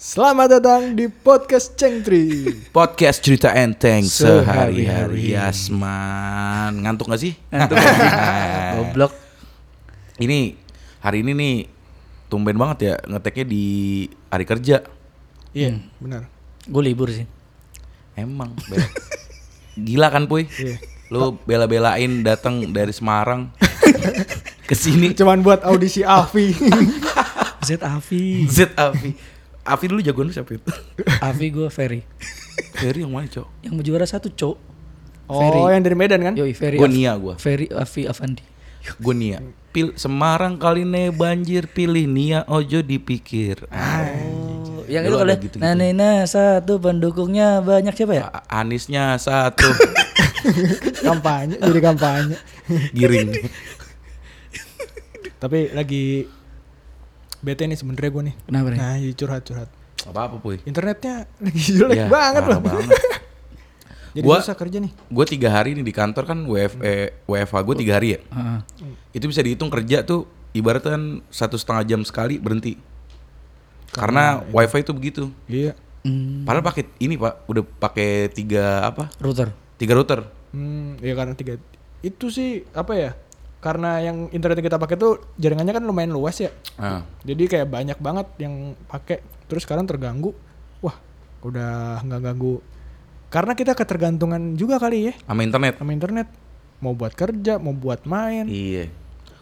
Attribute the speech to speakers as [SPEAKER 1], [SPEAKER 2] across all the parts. [SPEAKER 1] Selamat datang di podcast Cengtri.
[SPEAKER 2] Podcast cerita enteng
[SPEAKER 1] Sehari-hari.
[SPEAKER 2] sehari-hari Yasman Ngantuk gak sih? Nah,
[SPEAKER 3] Goblok.
[SPEAKER 2] Ini hari ini nih Tumben banget ya ngeteknya di hari kerja
[SPEAKER 1] Iya, benar.
[SPEAKER 3] Gue libur sih.
[SPEAKER 2] Emang Bel. Gila kan Puy? Lu bela-belain datang dari Semarang ke sini
[SPEAKER 1] Cuman buat audisi Alfi.
[SPEAKER 3] Z Avi.
[SPEAKER 2] Z Afi Afi dulu jagoan lu siapa itu?
[SPEAKER 3] Avi gue Ferry.
[SPEAKER 2] Ferry yang mana cok?
[SPEAKER 3] Yang mau juara satu, Cok.
[SPEAKER 1] oh, yang dari Medan kan?
[SPEAKER 3] Yoi, Ferry.
[SPEAKER 2] Gua
[SPEAKER 3] Af-
[SPEAKER 2] Nia gua.
[SPEAKER 3] Ferry Avi Avandi.
[SPEAKER 2] Gue Nia Pil Semarang kali ne banjir pilih Nia ojo dipikir
[SPEAKER 3] Oh, yang
[SPEAKER 2] Dulu
[SPEAKER 3] itu
[SPEAKER 2] ada
[SPEAKER 3] kalau
[SPEAKER 2] gitu-gitu.
[SPEAKER 3] Nanena satu pendukungnya banyak siapa ya?
[SPEAKER 2] A- Anisnya satu
[SPEAKER 1] kampanye, jadi kampanye.
[SPEAKER 2] giring.
[SPEAKER 1] Tapi lagi bete nih sebenernya gue nih.
[SPEAKER 3] Kenapa nih?
[SPEAKER 1] Nah, jadi curhat-curhat.
[SPEAKER 2] Apa apa puy? Iya,
[SPEAKER 1] Internetnya lagi jelek Iya, banget loh. Jadi
[SPEAKER 2] Gua-
[SPEAKER 1] susah kerja nih.
[SPEAKER 2] Gue tiga hari nih di kantor kan WF, eh, WFH gue tiga hari ya.
[SPEAKER 3] Heeh.
[SPEAKER 2] Itu bisa dihitung kerja tuh ibaratkan satu setengah jam sekali berhenti. Karena wifi itu begitu.
[SPEAKER 1] Iya.
[SPEAKER 3] Hmm,
[SPEAKER 2] Padahal pakai ini pak, udah pakai tiga apa?
[SPEAKER 3] router.
[SPEAKER 2] Tiga router.
[SPEAKER 1] Hmm, ya karena tiga itu sih apa ya? Karena yang internet yang kita pakai tuh jaringannya kan lumayan luas ya.
[SPEAKER 2] Ah.
[SPEAKER 1] Jadi kayak banyak banget yang pakai. Terus sekarang terganggu. Wah, udah nggak ganggu. Karena kita ketergantungan juga kali ya
[SPEAKER 2] Sama internet.
[SPEAKER 1] sama internet. Mau buat kerja, mau buat main.
[SPEAKER 2] Iya.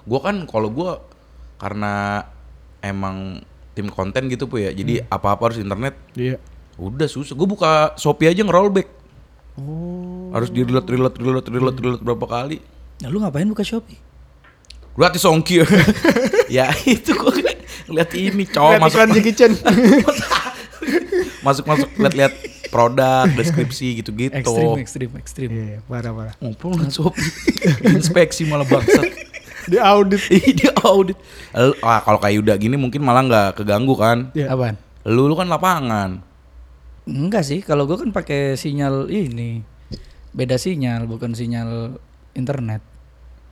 [SPEAKER 2] Gue kan kalau gue karena emang tim konten gitu puy ya. Jadi apa-apa harus internet.
[SPEAKER 1] Iya.
[SPEAKER 2] Udah susah. Gue buka Shopee aja ngerollback. Harus di reload, reload, reload, reload, reload berapa kali.
[SPEAKER 3] Nah, lu ngapain buka Shopee?
[SPEAKER 2] Gratis ongkir. ya itu gue lihat ini
[SPEAKER 1] Lihat
[SPEAKER 2] cowok Oh, masuk
[SPEAKER 1] iklan Jackie Chan.
[SPEAKER 2] masuk masuk lihat-lihat produk deskripsi gitu-gitu.
[SPEAKER 3] Ekstrim, ekstrim, ekstrim.
[SPEAKER 1] Iya, parah-parah.
[SPEAKER 2] Ngumpul liat Shopee. Inspeksi malah bangsat.
[SPEAKER 1] Di audit.
[SPEAKER 2] Ih, Dia audit. Lu- Ah, kalau kayak Yuda gini mungkin malah nggak keganggu kan.
[SPEAKER 1] Iya.
[SPEAKER 3] Apaan?
[SPEAKER 2] Lu, lu kan lapangan.
[SPEAKER 3] Enggak sih, kalau gue kan pakai sinyal ini. Beda sinyal, bukan sinyal internet.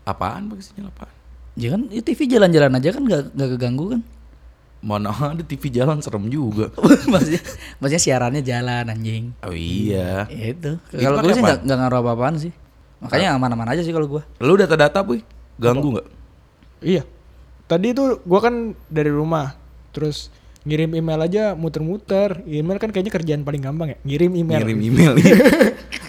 [SPEAKER 2] Apaan pakai sinyal apaan?
[SPEAKER 3] Ya kan, ya TV jalan-jalan aja kan nggak nggak keganggu kan?
[SPEAKER 2] Mana ada TV jalan serem juga.
[SPEAKER 3] maksudnya, maksudnya siarannya jalan anjing.
[SPEAKER 2] Oh iya.
[SPEAKER 3] Ya itu.
[SPEAKER 2] Itu
[SPEAKER 3] Kalau gue
[SPEAKER 2] pakai
[SPEAKER 3] sih
[SPEAKER 2] apaan?
[SPEAKER 3] nggak nggak ngaruh apa-apaan sih. Makanya aman-aman aja sih kalau gue.
[SPEAKER 2] Lu data-data puy, ganggu nggak?
[SPEAKER 1] Iya. Tadi itu gua kan dari rumah. Terus ngirim email aja muter-muter. Email kan kayaknya kerjaan paling gampang ya. Ngirim email.
[SPEAKER 2] Ngirim email.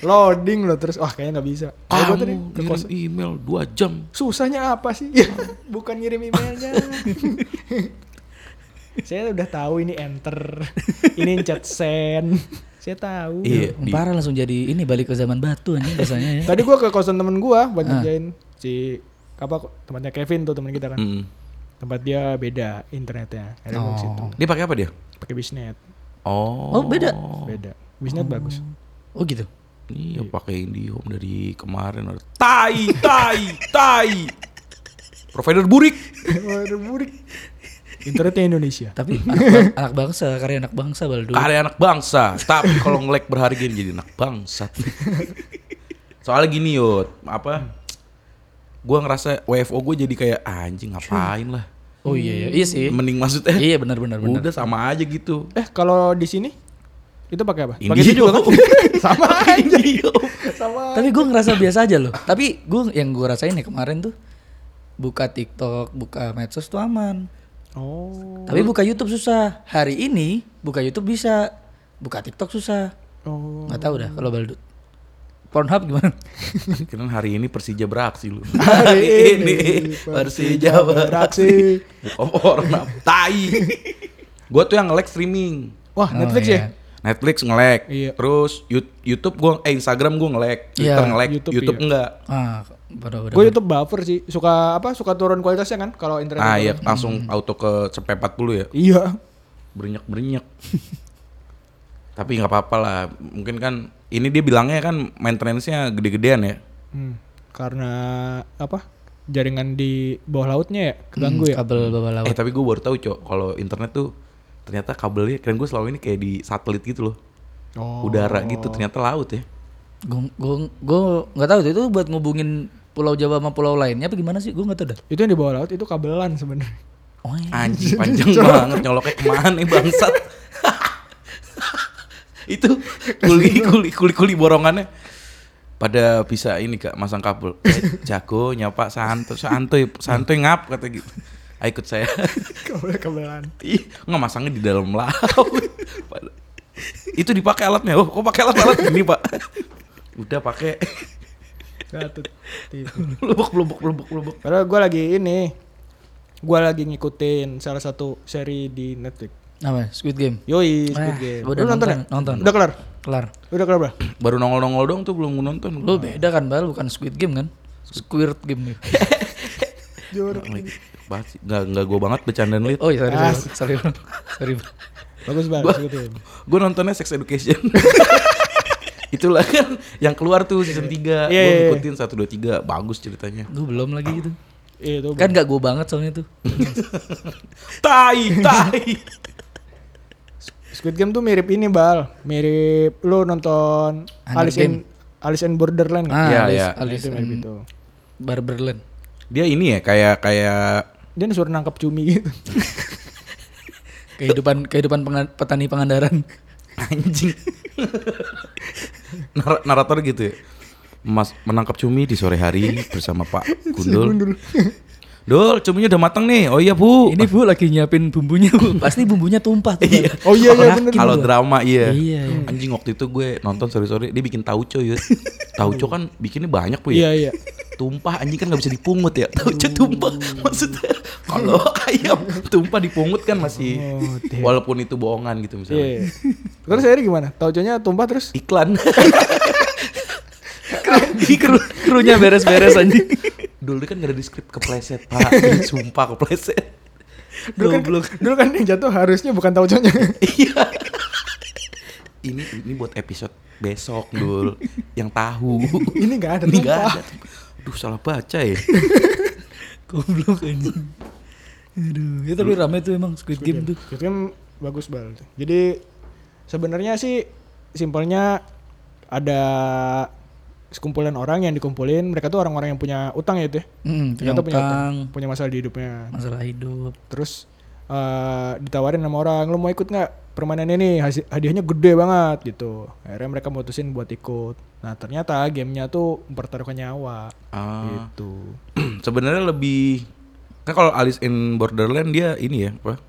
[SPEAKER 1] Loading loh terus. Wah, kayaknya nggak bisa. Kalau gua tadi
[SPEAKER 2] Kamu
[SPEAKER 1] ke
[SPEAKER 2] ngirim
[SPEAKER 1] kos
[SPEAKER 2] email 2 jam.
[SPEAKER 1] Susahnya apa sih? Ya, bukan ngirim emailnya. Saya udah tahu ini enter, ini chat send. Saya tahu.
[SPEAKER 2] Iya. di-
[SPEAKER 3] Parah langsung jadi ini balik ke zaman batu anjing biasanya ya.
[SPEAKER 1] Tadi gua ke kosan temen gua buat ngerjain si apa tempatnya Kevin tuh temen kita kan.
[SPEAKER 2] Mm.
[SPEAKER 1] Tempat dia beda internetnya. Ada oh. situ.
[SPEAKER 3] Oh.
[SPEAKER 2] Dia pakai apa dia?
[SPEAKER 1] Pakai bisnet.
[SPEAKER 2] Oh.
[SPEAKER 3] Oh, beda.
[SPEAKER 1] Beda. Bisnet bagus.
[SPEAKER 3] Oh gitu.
[SPEAKER 2] Iya, pakai IndiHome dari kemarin. Tai, tai, tai. Provider burik.
[SPEAKER 1] Waduh, burik. Internetnya Indonesia.
[SPEAKER 3] Tapi anak, bang- anak bangsa, karya anak bangsa baldu.
[SPEAKER 2] Karya anak bangsa. Tapi kalau ngelek berharga ini jadi anak bangsa. Soalnya gini yot, apa? Gue ngerasa WFO gue jadi kayak "Ah, anjing ngapain lah.
[SPEAKER 3] Oh iya iya, iya sih.
[SPEAKER 2] Mending maksudnya
[SPEAKER 3] Iya benar benar benar.
[SPEAKER 2] udah sama aja gitu.
[SPEAKER 1] Eh, kalau di sini itu pakai apa? Pakai itu
[SPEAKER 2] Indio.
[SPEAKER 1] juga kan? Sama aja. Sama.
[SPEAKER 3] Tapi gue ngerasa biasa aja loh. Tapi gue yang gue rasain ya kemarin tuh buka TikTok, buka medsos tuh aman.
[SPEAKER 1] Oh.
[SPEAKER 3] Tapi buka YouTube susah. Hari ini buka YouTube bisa, buka TikTok susah.
[SPEAKER 1] Oh.
[SPEAKER 3] Nggak tahu dah kalau Baldut. Pornhub gimana?
[SPEAKER 2] Kira hari ini Persija beraksi lu.
[SPEAKER 1] Hari ini Persija beraksi.
[SPEAKER 2] Orang Oh, tai. Gue tuh yang nge-lag streaming.
[SPEAKER 1] Wah,
[SPEAKER 3] Oh,
[SPEAKER 1] Netflix
[SPEAKER 3] iya.
[SPEAKER 1] ya?
[SPEAKER 2] Netflix nge-lag.
[SPEAKER 1] Iya.
[SPEAKER 2] Terus Yout- YouTube gua eh Instagram gua nge-lag, Twitter
[SPEAKER 3] Iya,
[SPEAKER 2] nge-lag,
[SPEAKER 1] YouTube,
[SPEAKER 2] YouTube,
[SPEAKER 1] iya.
[SPEAKER 2] enggak.
[SPEAKER 3] Ah, baru baru.
[SPEAKER 1] Gue YouTube buffer sih. Suka apa? Suka turun kualitasnya kan kalau internet.
[SPEAKER 2] Ah
[SPEAKER 1] turun.
[SPEAKER 2] iya, langsung
[SPEAKER 1] Hmm.
[SPEAKER 2] auto ke cepet 40 ya.
[SPEAKER 1] Iya.
[SPEAKER 2] Berinyak-berinyak. Tapi nggak apa-apa lah. Mungkin kan ini dia bilangnya kan maintenance-nya gede-gedean ya.
[SPEAKER 1] Hmm. Karena apa? Jaringan di bawah lautnya ya keganggu ya.
[SPEAKER 3] kabel bawah laut.
[SPEAKER 2] Eh tapi gue baru tahu cok kalau internet tuh ternyata kabelnya keren gue selama ini kayak di satelit gitu loh
[SPEAKER 1] Oh.
[SPEAKER 2] udara gitu ternyata laut ya
[SPEAKER 3] Gue gue gue nggak tahu tuh itu buat ngubungin Pulau Jawa sama pulau lainnya apa gimana sih? Gue nggak tahu dah.
[SPEAKER 1] Itu yang di bawah laut itu kabelan sebenarnya.
[SPEAKER 3] Oh, iya.
[SPEAKER 2] anjing panjang banget nyoloknya kemana nih bangsat itu kuli kuli kuli kuli borongannya pada bisa ini kak masang kabel Eh, jago nyapa santuy santuy santuy ngap kata gitu Ah, ikut saya
[SPEAKER 1] kabel-kabelan.
[SPEAKER 2] Ih, nggak masangnya di dalam laut Pada- itu dipakai alatnya oh kok pakai alat alat ini pak udah pakai
[SPEAKER 1] Satu tipe.
[SPEAKER 2] lubuk lubuk lubuk lubuk
[SPEAKER 1] Padahal gue lagi ini, gue lagi ngikutin salah satu seri di Netflix.
[SPEAKER 3] Apa? Squid Game.
[SPEAKER 1] Yoi, Squid
[SPEAKER 3] Ah,
[SPEAKER 1] Game.
[SPEAKER 3] gua udah
[SPEAKER 1] Lu nonton,
[SPEAKER 3] nonton,
[SPEAKER 1] ya?
[SPEAKER 3] nonton.
[SPEAKER 1] Udah kelar?
[SPEAKER 3] Kelar.
[SPEAKER 1] Udah kelar berapa?
[SPEAKER 2] baru nongol nongol dong tuh belum nonton
[SPEAKER 3] Lu beda kan, Bal, bukan Squid Game kan? Squid Game. nih.
[SPEAKER 2] Basi. nggak nggak gue banget bercandaan lit
[SPEAKER 3] Oh iya, sorry, sorry, sorry, Bal. sorry. Bal.
[SPEAKER 1] Bagus banget Squid Game.
[SPEAKER 2] gue nontonnya Sex Education itulah kan yang keluar tuh season
[SPEAKER 1] Iya,
[SPEAKER 2] 3 gue
[SPEAKER 1] iya, iya.
[SPEAKER 2] ngikutin 1, 2, 3 bagus ceritanya
[SPEAKER 3] Gua belum lagi gitu.
[SPEAKER 1] Iya, itu.
[SPEAKER 3] Kan gak gue banget soalnya tuh.
[SPEAKER 2] tai tai
[SPEAKER 1] Squid Game tuh mirip ini, Bal. Mirip lu nonton
[SPEAKER 3] Hunger
[SPEAKER 1] Alice in Alice in Borderland nggak?
[SPEAKER 3] Ah,
[SPEAKER 2] Iya,
[SPEAKER 3] alis,
[SPEAKER 2] iya.
[SPEAKER 3] alis,
[SPEAKER 1] itu mirip itu.
[SPEAKER 3] Barberland.
[SPEAKER 2] dia ini ya kayak kayak
[SPEAKER 1] Dia disuruh nangkap cumi gitu.
[SPEAKER 3] Kehidupan kehidupan penga- petani Pangandaran.
[SPEAKER 2] anjing Nar- narator gitu ya Mas menangkap cumi di sore hari bersama Pak Gundul. Dul, cuminya udah matang nih. Oh iya, Bu.
[SPEAKER 3] Ini Bu lagi nyiapin bumbunya, Bu. Pasti bumbunya tumpah tuh. Bal.
[SPEAKER 1] Oh iya, iya,
[SPEAKER 3] Yakin
[SPEAKER 1] bener.
[SPEAKER 2] Kalau
[SPEAKER 3] gua.
[SPEAKER 2] drama iya.
[SPEAKER 3] Iya, iya.
[SPEAKER 2] Anjing waktu itu gue nonton sore-sore dia bikin tauco ya. Tauco kan bikinnya banyak Bu
[SPEAKER 1] Iya, Oh.
[SPEAKER 2] ya.
[SPEAKER 1] iya.
[SPEAKER 2] Tumpah anjing kan nggak bisa dipungut ya. Tauco tumpah. Maksudnya kalau ayam tumpah dipungut kan masih
[SPEAKER 1] Oh, damn.
[SPEAKER 2] walaupun itu bohongan gitu
[SPEAKER 1] Iya.
[SPEAKER 2] misalnya.
[SPEAKER 1] Terus akhirnya gimana? Tauconya tumpah terus?
[SPEAKER 2] Iklan.
[SPEAKER 3] Kru, krunya beres-beres anjing.
[SPEAKER 2] Dulu kan gak ada di skrip kepleset pak Ini Sumpah kepleset
[SPEAKER 1] Dulu kan,
[SPEAKER 3] Goblok.
[SPEAKER 1] dulu kan yang jatuh harusnya bukan tauconya.
[SPEAKER 2] Iya Ini ini buat episode besok Dul Yang tahu
[SPEAKER 1] Ini nggak ada
[SPEAKER 2] Ini gak
[SPEAKER 1] tumpah.
[SPEAKER 2] ada Duh salah baca ya
[SPEAKER 3] Goblok anjing. Aduh, ya tapi rame tuh emang Squid Game tuh.
[SPEAKER 1] Squid Game bagus banget. Jadi sebenarnya sih simpelnya ada sekumpulan orang yang dikumpulin, mereka tuh orang-orang yang punya utang ya itu. ya?
[SPEAKER 3] Hmm, punya
[SPEAKER 1] Ternyata punya utang,
[SPEAKER 3] utang,
[SPEAKER 1] punya masalah di hidupnya.
[SPEAKER 3] masalah hidup.
[SPEAKER 1] Terus eh, ditawarin sama orang, lo mau ikut nggak permainan ini? Hasi- Hadiahnya gede banget gitu. Akhirnya mereka mutusin buat ikut. Nah ternyata gamenya tuh mempertaruhkan nyawa
[SPEAKER 2] Ah,
[SPEAKER 1] gitu.
[SPEAKER 2] Sebenarnya lebih Kan kalau Alice in Borderland dia ini ya apa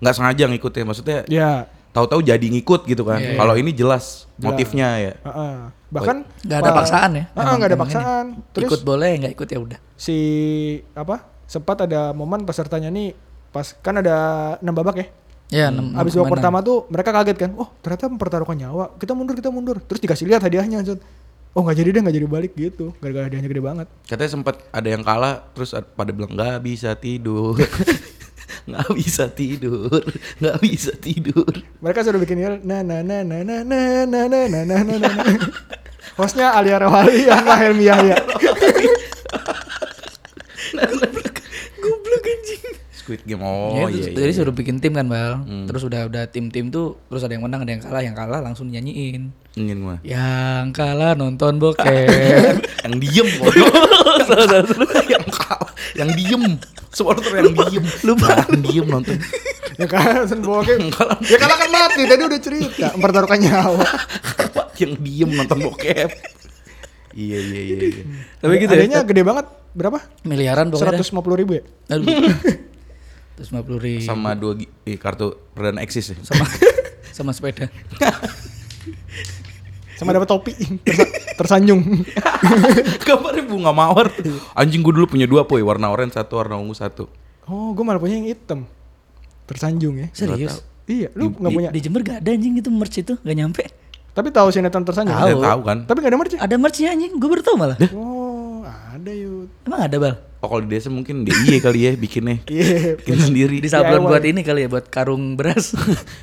[SPEAKER 2] nggak sengaja ngikutin maksudnya
[SPEAKER 1] Ya,
[SPEAKER 2] tahu-tahu jadi ngikut gitu kan
[SPEAKER 3] Iya, iya.
[SPEAKER 2] kalau ini jelas motifnya ya
[SPEAKER 1] heeh. bahkan
[SPEAKER 3] Nggak ada
[SPEAKER 1] Pak-
[SPEAKER 3] paksaan ya?
[SPEAKER 1] Heeh,
[SPEAKER 3] Emang-
[SPEAKER 1] Ah, nggak ada
[SPEAKER 3] emang ini.
[SPEAKER 1] paksaan. Terus
[SPEAKER 3] ikut boleh, nggak ikut ya udah.
[SPEAKER 1] si apa sempat ada momen pesertanya nih pas kan ada enam babak ya
[SPEAKER 3] Ya, enam-
[SPEAKER 1] abis
[SPEAKER 3] enam
[SPEAKER 1] babak
[SPEAKER 3] kemenangan.
[SPEAKER 1] pertama tuh mereka kaget kan oh ternyata mempertaruhkan nyawa kita mundur kita mundur terus dikasih lihat hadiahnya Zon. oh nggak jadi deh nggak jadi balik gitu gara-gara hadiahnya gede banget
[SPEAKER 2] Katanya sempat ada yang kalah terus ad- pada bilang nggak bisa tidur. nggak bisa tidur, nggak bisa tidur.
[SPEAKER 1] mereka sudah bikin yel na na na na na na na na na na na na hostnya Alia Rawali sama Helmi Yahya
[SPEAKER 3] Goblok anjing.
[SPEAKER 2] Squid Game. Oh iya.
[SPEAKER 3] Ya, itu-
[SPEAKER 2] iya,
[SPEAKER 3] jadi
[SPEAKER 2] iya. Hmm.
[SPEAKER 3] suruh bikin tim kan, Bal. Terus udah udah tim-tim tuh terus ada yang menang, ada yang kalah, yang kalah langsung nyanyiin.
[SPEAKER 2] Ingin gua.
[SPEAKER 3] Yang kalah nonton bokep.
[SPEAKER 2] yang diem goblok. yang, yang kalah, yang diem. Supporter yang diem. Lupa. Yang diem nonton.
[SPEAKER 1] ya kan Sen Bokeh ya kalah kan mati tadi udah cerita mempertaruhkan nyawa
[SPEAKER 2] yang diem nonton bokep. Iya iya iya. iya.
[SPEAKER 3] Tapi gitu ya.
[SPEAKER 1] hadiahnya gede banget berapa
[SPEAKER 3] Miliaran pokoknya.
[SPEAKER 1] 150 ribu ya
[SPEAKER 3] dah. Aduh. 150 ribu.
[SPEAKER 2] Sama dua gi- eh, kartu perdana eksis ya.
[SPEAKER 3] sama sama sepeda.
[SPEAKER 1] sama dapat topi Tersa- tersanjung
[SPEAKER 2] Kabarnya bunga mawar. tuh. Anjing gua dulu punya dua poy, warna oranye satu, warna ungu satu.
[SPEAKER 1] Oh, gue malah punya yang hitam. Tersanjung ya.
[SPEAKER 3] Serius?
[SPEAKER 1] Iya, lu nggak punya.
[SPEAKER 3] Di Jember gak ada anjing itu merch itu, gak nyampe.
[SPEAKER 1] Tapi tahu sinetron tersanjung.
[SPEAKER 3] Tahu.
[SPEAKER 2] Saya tahu kan.
[SPEAKER 1] Tapi nggak ada merch. ya?
[SPEAKER 3] Ada merchnya anjing, gue baru tau malah.
[SPEAKER 1] Oh, ada yuk.
[SPEAKER 3] Emang ada bal?
[SPEAKER 2] Oh kalau di desa mungkin di iye kali ya bikinnya.
[SPEAKER 1] Iya.
[SPEAKER 2] Bikin sendiri.
[SPEAKER 3] Di sablon
[SPEAKER 1] DIY.
[SPEAKER 3] buat ini kali ya, buat karung beras.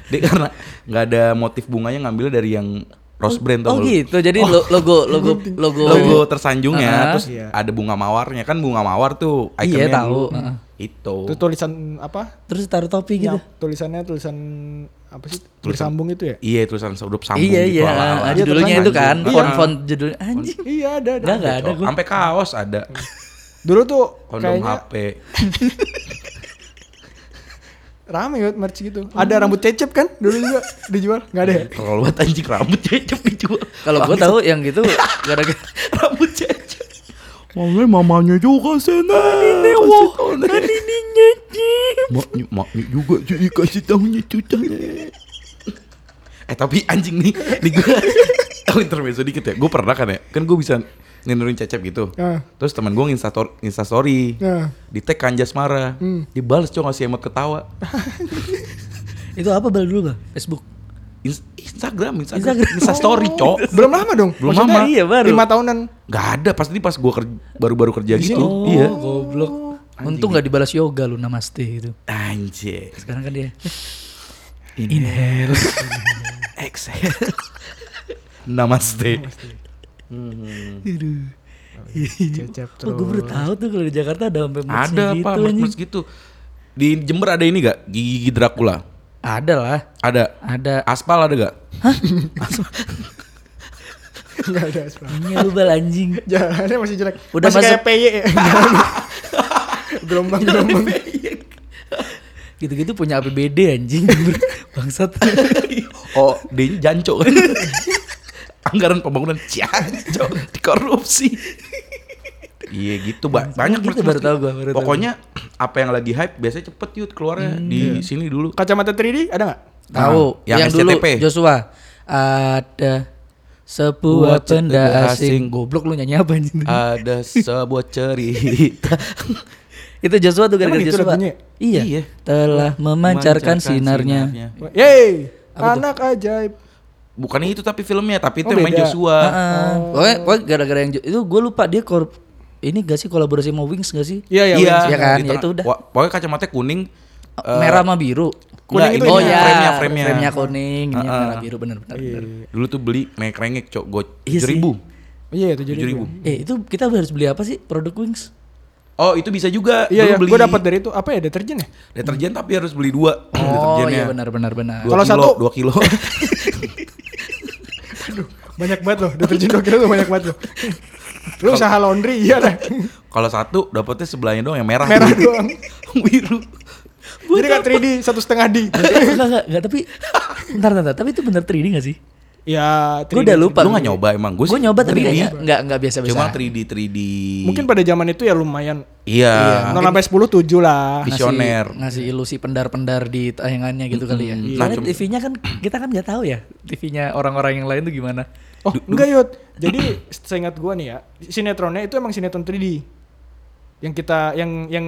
[SPEAKER 2] Dia karena nggak ada motif bunganya ngambilnya dari yang Rose brand tau
[SPEAKER 3] oh
[SPEAKER 2] nggak lu?
[SPEAKER 3] gitu, jadi lo- logo logo logo
[SPEAKER 2] Logo tersanjungnya
[SPEAKER 3] Ah.
[SPEAKER 2] terus
[SPEAKER 1] Iya.
[SPEAKER 2] ada bunga mawarnya kan bunga mawar tuh ikonnya
[SPEAKER 3] Iya, tahu.
[SPEAKER 2] dulu.
[SPEAKER 3] Ah.
[SPEAKER 2] Itu.
[SPEAKER 1] Itu tulisan apa?
[SPEAKER 3] terus taruh topi gitu.
[SPEAKER 1] Nyap, tulisannya tulisan apa sih? Bersambung itu ya?
[SPEAKER 2] Iya tulisan huruf sambung
[SPEAKER 3] Iya
[SPEAKER 2] gitu
[SPEAKER 3] iya,
[SPEAKER 2] ala-ala.
[SPEAKER 3] ah, judulnya itu kan,
[SPEAKER 2] Iya.
[SPEAKER 3] font-font judul anjing.
[SPEAKER 1] Iya, ada ada.
[SPEAKER 3] Enggak enggak ada
[SPEAKER 2] Oh,
[SPEAKER 3] gua.
[SPEAKER 2] Sampai kaos ada.
[SPEAKER 1] Dulu tuh
[SPEAKER 2] Kondom
[SPEAKER 1] kayaknya
[SPEAKER 2] HP.
[SPEAKER 1] Rame yot merch gitu.
[SPEAKER 3] Oh.
[SPEAKER 1] Ada rambut cecep kan dulu juga dijual. Enggak ada ya?
[SPEAKER 2] Kalau buat anjing rambut cecep dijual.
[SPEAKER 3] Kalau gua tahu yang gitu gara-gara
[SPEAKER 2] rambut cecep. Mamanya mamanya juga sana. Ini
[SPEAKER 3] ini nyecip.
[SPEAKER 2] Maknya maknya juga jadi kasih tahunya cucanya. Eh tapi anjing nih, di gua aku intermezzo dikit ya. Gue pernah kan ya, kan gue bisa ninurin cecep gitu.
[SPEAKER 1] Ah.
[SPEAKER 3] Ya.
[SPEAKER 2] Terus teman gue instastory, instastory.
[SPEAKER 1] Ah.
[SPEAKER 2] di tag kanjas marah,
[SPEAKER 3] Hmm.
[SPEAKER 2] dibales cowok ngasih emot ketawa.
[SPEAKER 3] Itu apa bal dulu bal? Facebook.
[SPEAKER 2] Ins- Instagram, Instagram,
[SPEAKER 3] Instagram.
[SPEAKER 2] Instastory, cok.
[SPEAKER 1] Belum lama dong.
[SPEAKER 2] Belum
[SPEAKER 1] Maksudnya
[SPEAKER 2] lama.
[SPEAKER 3] Oh. Iya, baru.
[SPEAKER 1] Lima tahunan.
[SPEAKER 2] Gak ada, pasti pas gua kerja, baru-baru kerja
[SPEAKER 1] Di
[SPEAKER 2] gitu.
[SPEAKER 1] sini?
[SPEAKER 3] Oh.
[SPEAKER 2] Iya.
[SPEAKER 3] Goblok. Untung nggak dibalas yoga lu namaste gitu.
[SPEAKER 2] Anjir.
[SPEAKER 3] Sekarang kan dia inhale.
[SPEAKER 2] Exhale. Namaste.
[SPEAKER 3] Aduh.
[SPEAKER 1] Cecep terus.
[SPEAKER 3] Oh, gue baru tahu tuh kalau di Jakarta ada sampai merch-nya
[SPEAKER 2] Ada apa
[SPEAKER 3] gitu, anjing.
[SPEAKER 2] merch gitu. Di Jember ada ini gak? Gigi Dracula.
[SPEAKER 3] Ada lah.
[SPEAKER 2] Ada.
[SPEAKER 3] Ada.
[SPEAKER 2] Aspal ada gak?
[SPEAKER 1] Enggak ada aspal.
[SPEAKER 3] Ini lu bal anjing.
[SPEAKER 1] Jalannya masih jelek.
[SPEAKER 3] Udah
[SPEAKER 1] masih kayak
[SPEAKER 3] masuk-
[SPEAKER 1] PY ya.
[SPEAKER 2] Iya,
[SPEAKER 1] Gelombang-gelombang.
[SPEAKER 3] Gitu-gitu punya APBD anjing. Bangsat.
[SPEAKER 2] Oh, D janco kan. Anggaran pembangunan janco dikorupsi. Iya gitu ba- banyak
[SPEAKER 3] Gitu
[SPEAKER 2] merch-merch
[SPEAKER 3] baru tahu
[SPEAKER 2] gitu.
[SPEAKER 3] gua, baru tahu. Hmm, iya.
[SPEAKER 2] Pokoknya apa yang lagi hype biasanya cepet yut keluarnya di sini dulu.
[SPEAKER 1] Kacamata 3D ada nggak?
[SPEAKER 3] Tahu.
[SPEAKER 2] Nah, Yang
[SPEAKER 3] yang dulu
[SPEAKER 2] SCTP.
[SPEAKER 3] Joshua ada sebuah
[SPEAKER 2] Buat benda
[SPEAKER 3] benda
[SPEAKER 2] asing.
[SPEAKER 3] asing. Goblok lu nyanyi apa anjing?
[SPEAKER 2] Ada sebuah cerita.
[SPEAKER 3] Itu Joshua tuh gara-gara
[SPEAKER 1] Emang itu
[SPEAKER 3] Joshua.
[SPEAKER 1] lagunya?
[SPEAKER 3] Iya.
[SPEAKER 2] Iya.
[SPEAKER 3] Telah memancarkan sinarnya.
[SPEAKER 1] Yeay, anak ajaib.
[SPEAKER 2] Bukan itu tapi filmnya, tapi
[SPEAKER 1] Oh,
[SPEAKER 2] itu yang main
[SPEAKER 1] beda.
[SPEAKER 2] Joshua.
[SPEAKER 3] Heeh. Pokoknya, pokoknya gara-gara yang Jo- itu gue lupa dia korup ini gak sih kolaborasi sama Wings gak sih?
[SPEAKER 1] Iya, iya.
[SPEAKER 2] iya,
[SPEAKER 1] Wings.
[SPEAKER 3] iya kan?
[SPEAKER 2] di
[SPEAKER 3] Ya
[SPEAKER 2] tengah-
[SPEAKER 3] itu udah. Oh,
[SPEAKER 2] Wah, Pokoknya kacamatanya kuning. eh,
[SPEAKER 3] merah sama biru.
[SPEAKER 1] Kuning
[SPEAKER 2] enggak,
[SPEAKER 1] itu
[SPEAKER 2] ini
[SPEAKER 3] oh
[SPEAKER 1] ya,
[SPEAKER 3] ya,
[SPEAKER 2] frame-nya, frame-nya.
[SPEAKER 3] kuning, ini
[SPEAKER 2] Heeh. iya,
[SPEAKER 3] merah biru bener-bener. bener.
[SPEAKER 2] Dulu tuh beli main krengek, cok, gue
[SPEAKER 3] Iya sih.
[SPEAKER 2] ribu.
[SPEAKER 1] Iya, tujuh
[SPEAKER 2] Tujuh ribu.
[SPEAKER 1] ribu.
[SPEAKER 3] Eh itu kita harus beli apa sih produk Wings?
[SPEAKER 2] Oh itu bisa juga.
[SPEAKER 1] Iya, ya,
[SPEAKER 2] Dulu
[SPEAKER 1] gue dapat dari itu apa ya deterjen ya?
[SPEAKER 2] Deterjen tapi harus beli dua.
[SPEAKER 3] Oh iya benar-benar benar.
[SPEAKER 1] Kalau
[SPEAKER 2] Kalau
[SPEAKER 1] satu-
[SPEAKER 2] satu dua kilo.
[SPEAKER 1] Banyak banget loh, deterjen dua kilo tuh banyak banget loh. Lu usaha laundry iya dah.
[SPEAKER 2] Kalau satu dapatnya sebelahnya doang yang merah.
[SPEAKER 1] Merah doang.
[SPEAKER 2] Biru.
[SPEAKER 1] Jadi kan nggak 3D, satu setengah D.
[SPEAKER 3] enggak, enggak, enggak, tapi bentar, bentar, tapi itu bener 3D gak sih?
[SPEAKER 1] Ya,
[SPEAKER 3] Gue udah lupa.
[SPEAKER 2] Lu nggak nyoba emang? Gua
[SPEAKER 3] Gue
[SPEAKER 2] sih
[SPEAKER 3] nyoba tapi
[SPEAKER 2] 3D.
[SPEAKER 3] kayaknya enggak, enggak biasa-biasa.
[SPEAKER 2] Cuma 3D 3D.
[SPEAKER 1] Mungkin pada zaman itu ya lumayan.
[SPEAKER 2] Iya.
[SPEAKER 1] nol sampai sepuluh tujuh lah.
[SPEAKER 2] Bisa. visioner.
[SPEAKER 3] Ngasih, ngasih ilusi pendar-pendar di tayangannya gitu kali ya.
[SPEAKER 2] Mm-mm.
[SPEAKER 3] Soalnya
[SPEAKER 2] Nah, cum-
[SPEAKER 3] TV-nya kan kita kan nggak tahu ya TV-nya orang-orang yang lain tuh gimana.
[SPEAKER 1] Oh, enggak yot. Jadi seingat gue nih ya, sinetronnya itu emang sinetron 3D. Yang kita, yang yang